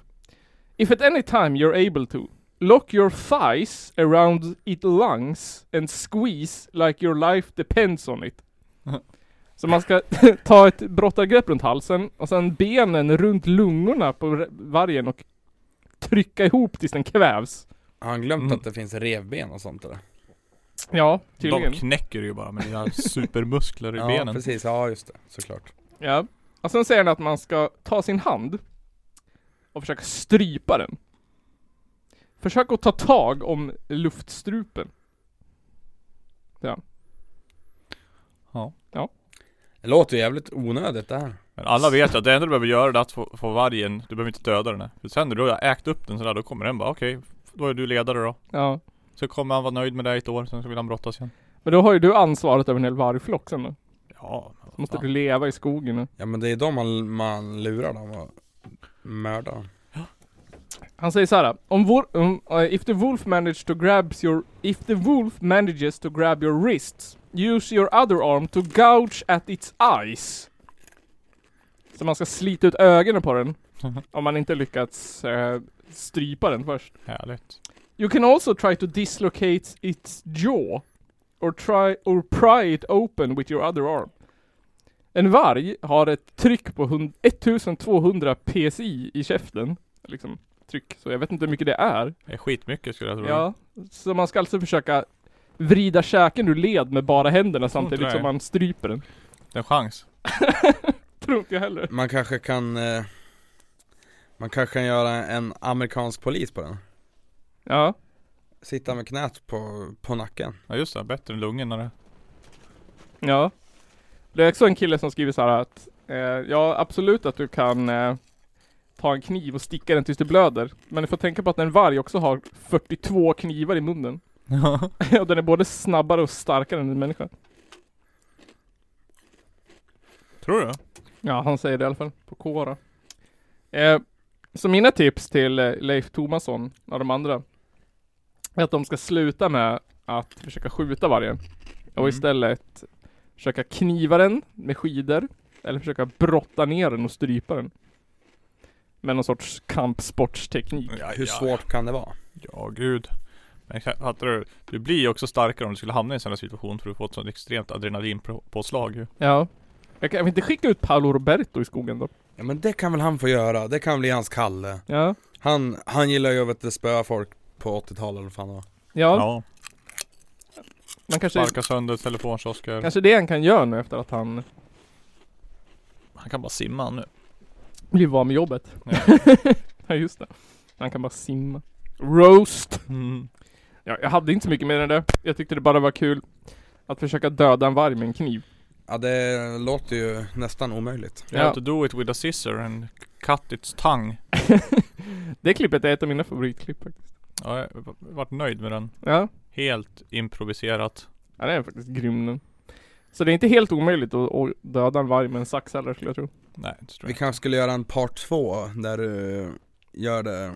If at any time you're able to, lock your thighs around its lungs and squeeze like your life depends on it. Så man ska ta ett brottargrepp runt halsen och sen benen runt lungorna på re- vargen och trycka ihop tills den kvävs. har han glömt Mm. att det finns revben och sånt eller? Ja, De tydligen. knäcker ju bara med dina supermuskler i ja, benen. precis, ja just det, såklart. Ja. Och sen säger den att man ska ta sin hand och försöka strypa den. Försök att ta tag om luftstrupen. Det låter ju jävligt onödigt det här. Men alla vet ju att det enda du behöver göra det är att få, få vargen, du behöver inte döda den. här. För sen när du har ägt upp den sådär, då kommer den bara okej, då är du ledare då. Ja. Så kommer han vara nöjd med dig i ett år, sen så vill han brottas igen. Men då har ju du ansvaret över en hel vargflock sen då. Ja, men vad Måste fan. du leva i skogen nu. Ja men det är de man, man lurar dem och mördar. Han säger så här. Om vår, om, eh, if the wolf manages to grabs your... If the wolf manages to grab your wrists, use your other arm to gouge at its eyes. Så man ska slita ut ögonen på den. om man inte lyckats eh, strypa den först. Härligt. You can also try to dislocate its jaw or try or pry it open with your other arm. En varg har ett tryck på hund- 1200 psi i käften. Liksom tryck, så jag vet inte hur mycket det är. Det är skitmycket skulle jag tro. Ja, så man ska alltså försöka vrida käken ur led med bara händerna tror inte samtidigt det. som man stryper den. Det är en chans. Tror inte jag heller. Man kanske kan, eh, man kanske kan göra en amerikansk polis på den. Ja, Sitta med knät på, på nacken. Ja just det, bättre än lungorna det. ja. Det är också en kille som skriver så här att eh, ja, absolut att du kan eh, ta en kniv och sticka den tills du blöder. Men du får tänka på att en varg också har 42 knivar i munnen. och den är både snabbare och starkare än en människa. Tror du? Ja, han säger det i alla fall på K då. Eh, så mina tips till eh, Leif Tomasson och de andra är att de ska sluta med att försöka skjuta vargen och Mm. istället försöka kniva den med skidor eller försöka brotta ner den och strypa den. Med någon sorts kampsportsteknik. Ja, Hur svårt kan det vara? Ja, gud. Men exakt, fattar du? Du blir ju också starkare om du skulle hamna i en sån här situation för du får ett sånt extremt adrenalinpåslag ju. Ja. Jag kan vi inte skicka ut Paolo Roberto i skogen då? Ja men det kan väl han få göra, det kan bli hans kalle. Ja. Han, han gillar ju att vet du, spöa folk på 80-talet eller vad fan det var. Ja. Ja. Man kanske, Sparka sönder telefonkiosker. kanske det han kan göra nu efter att han Han kan bara simma nu. blivit av med jobbet. Ja. Ja just det. Han kan bara simma. Roast! Mm. Ja, jag hade inte så mycket mer än det. Jag tyckte det bara var kul att försöka döda en varg med en kniv. Ja det låter ju nästan omöjligt You Ja. have to do it with a scissor and cut its tongue. Det klippet är ett av mina favoritklipp faktiskt. Ja, jag har varit nöjd med den. Ja, Helt improviserat. ja den är faktiskt grym den. Så det är inte helt omöjligt att, att döda en varg med en sax heller skulle jag tro. Nej, inte tror Vi jag. kanske skulle göra en part två där du gör det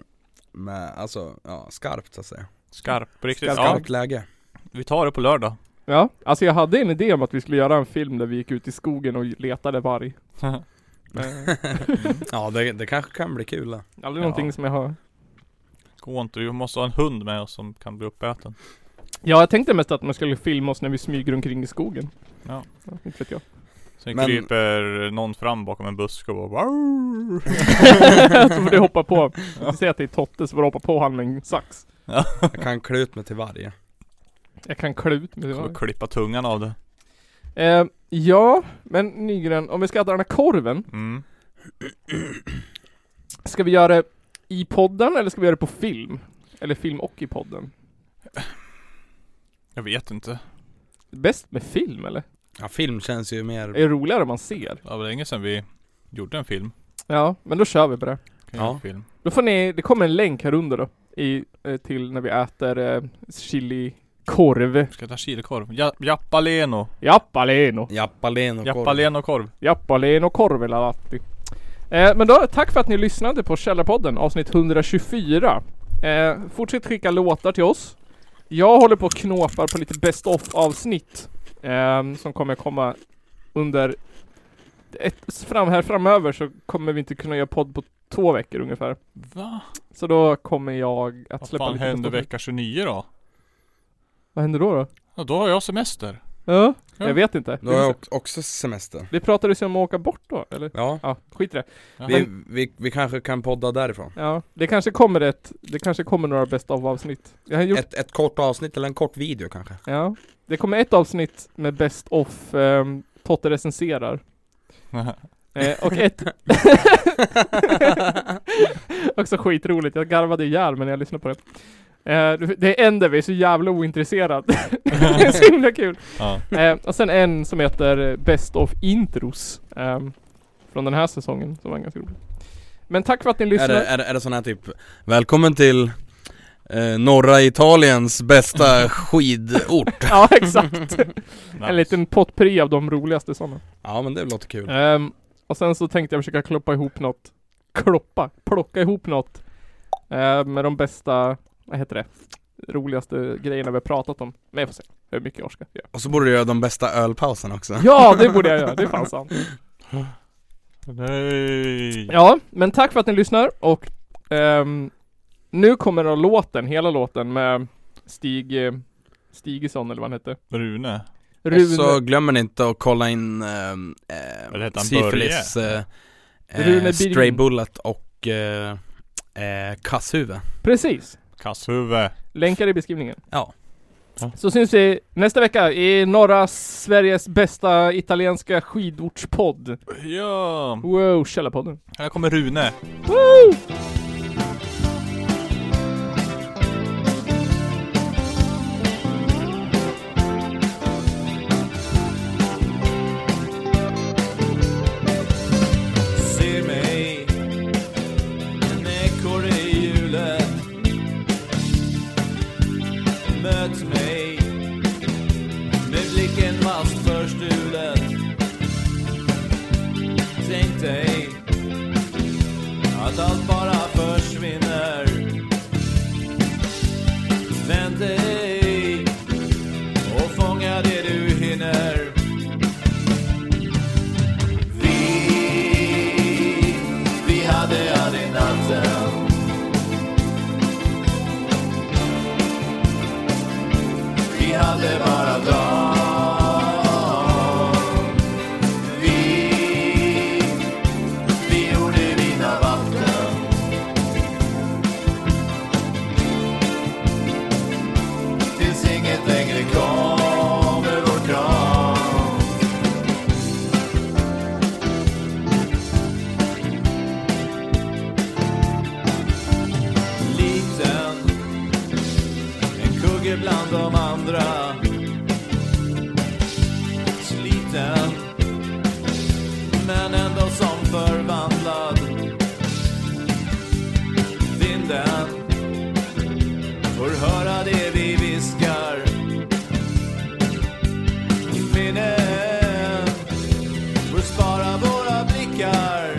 med, alltså, ja, skarpt så att säga Skarp, på riktigt. Ja, Skarpt läge vi tar det på lördag. Ja, alltså jag hade en idé om att vi skulle göra en film där vi gick ut i skogen och letade varg. Men Ja det, det kanske kan bli kul då. aldrig någonting som jag har Gå inte, vi måste ha en hund med oss som kan bli uppäten. Ja, jag tänkte mest att man skulle filma oss när vi smyger omkring i skogen. Ja. inte vet jag. Sen Men- kryper någon fram bakom en buske och bara "Wow!" så får du hoppa på. Säg att det är Totte så får du hoppa på han med en sax. Jag kan klä ut mig till varje Jag kan klä ut mig. Kommer klippa tungan av det. Eh, ja, men Nygren, om vi ska äta den här korven. Mm. Ska vi göra det i podden eller ska vi göra det på film? Eller film och i podden? Jag vet inte. Bäst med film eller? Ja film känns ju mer Det är roligare om man ser. Det var länge sedan vi gjorde en film. Ja, men då kör vi på det. Kan ja. Ja. En film. Då får ni, det kommer en länk här under då. I, eh, till när vi äter eh, chili korv. Ska jag ta chilikorv? Ja, Jappaleno. Jappaleno! Jappalen och korv Jappaleno-korv. Jappaleno korvelahti. Eh, men då, tack för att ni lyssnade på Källarpodden avsnitt 124. Eh, fortsätt skicka låtar till oss. Jag håller på och knåpar på lite best of avsnitt ehm, som kommer komma under ett, fram här framöver så kommer vi inte kunna göra podd på två veckor ungefär. Va? Så då kommer jag att Vad släppa fan lite händer best of- vecka 29 då? Vad händer då då? Ja, då har jag semester. Ja, Ja. jag vet inte. Då har jag ock- också semester Det pratades ju om att åka bort då, eller? Ja, Ja, skit i det. vi, vi, vi kanske kan podda därifrån Ja, det kanske kommer ett, det kanske kommer några bäst av avsnitt. Jag har gjort, ett, ett kort avsnitt eller en kort video kanske ja. Det kommer ett avsnitt med best of ehm, Totte recenserar. Eh, och ett... Också skitroligt, jag garvade ihjäl mig när jag lyssnade på det. Eh, det är en där vi är så jävla ointresserad. det är så himla kul. ja. Eh, och sen en som heter eh, Best of Intros. ehm, från den här säsongen, som var ganska rolig. Men tack för att ni Är lyssnade. det, är, det, är det sån här typ Välkommen till eh, norra Italiens bästa skidort Ja, exakt. Nice. en liten potpri av de roligaste sådana. Ja men det låter kul Ehm, och sen så tänkte jag försöka kloppa ihop något. Kloppa? Plocka ihop något. ehm, med de bästa, vad heter det? Roligaste grejerna vi har pratat om. Men jag får se hur mycket jag orkar göra. Och så borde du göra de bästa ölpauserna också Ja, det borde jag göra. Det är fan sant. Nej. Ja, men tack för att ni lyssnar och ehm, nu kommer då låten, hela låten med Stig eh, Stigesson eller vad han hette. Rune. Och så glömmer ni inte att kolla in ehm, Vad eh, heter han, Syfilis, eh, Rune eh, Birgin. Stray Bullet och eh, eh, Kasshuvud Precis! Kasshuvud. Länkar i beskrivningen. Ja. Så syns vi nästa vecka i norra Sveriges bästa italienska skidortspodd. Ja. Wow, Källarpodden. Här kommer Rune. Woo! Se mig En ekorre i hjulet Möt mig Med blicken fast förstulet Tänk dig Att allt bara försvinner Vänd dig Och fånga det du hinner Vi, vi hade aldrig natten Vi hade bara dagen Vi, vi gjorde vita vatten förvandlad Vinden får höra det vi viskar Minnen får spara våra blickar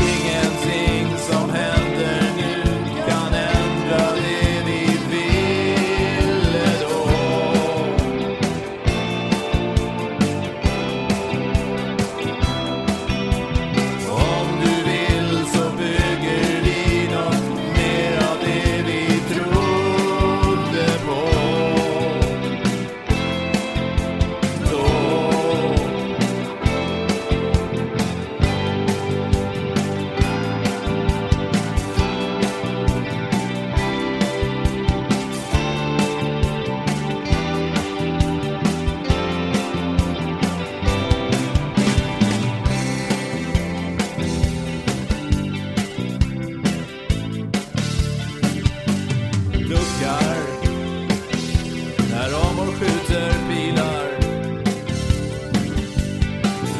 Ingenting som händer nu kan ändra det vi ville då Om du vill så bygger vi något mer av det vi trodde på då. Duckar när omor skjuter pilar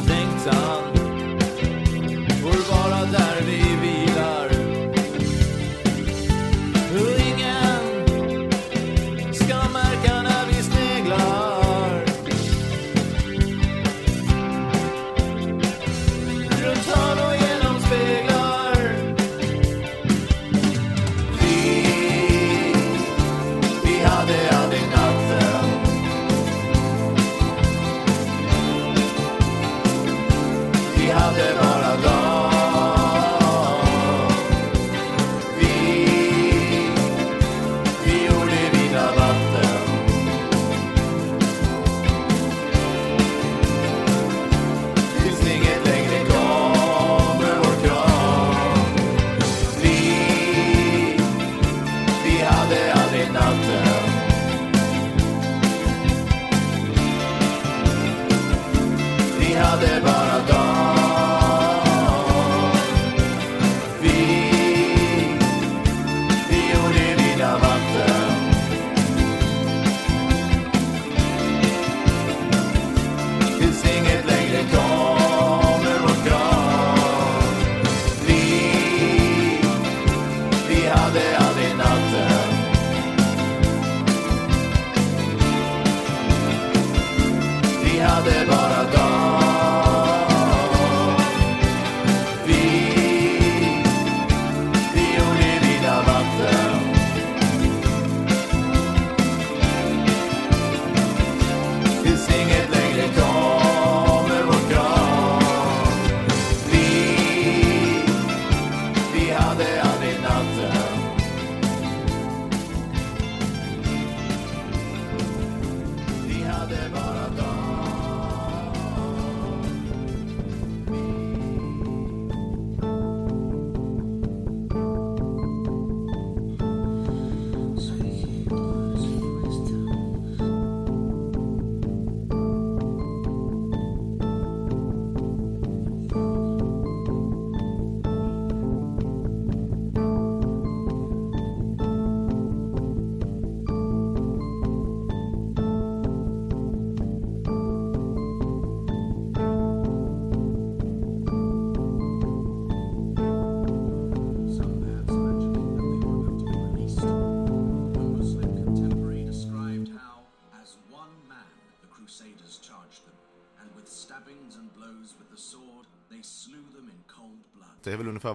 Längtan får vara där vi vilar Och ingen ska märka när vi sneglar Runt hörn och genom speglar vi vi hade aldrig natten Vi hade bara dagen Vi vi gjorde vita vatten Tills inget längre kommer vår kram Vi vi hade aldrig natten Vi hade bara dagen Vi, vi gjorde vita vatten Tills inget längre kommer vårt krav Vi vi hade aldrig natten Vi hade bara dagen Vi, vi gjorde vita vatten Tills inget längre kommer vår kram Vi, vi hade aldrig natten Vi hade bara dagen One Muslim contemporary described how, as one man, the Crusaders charged them, and with stabbings and blows with the sword, they slew them in cold blood. Det är väl ungefär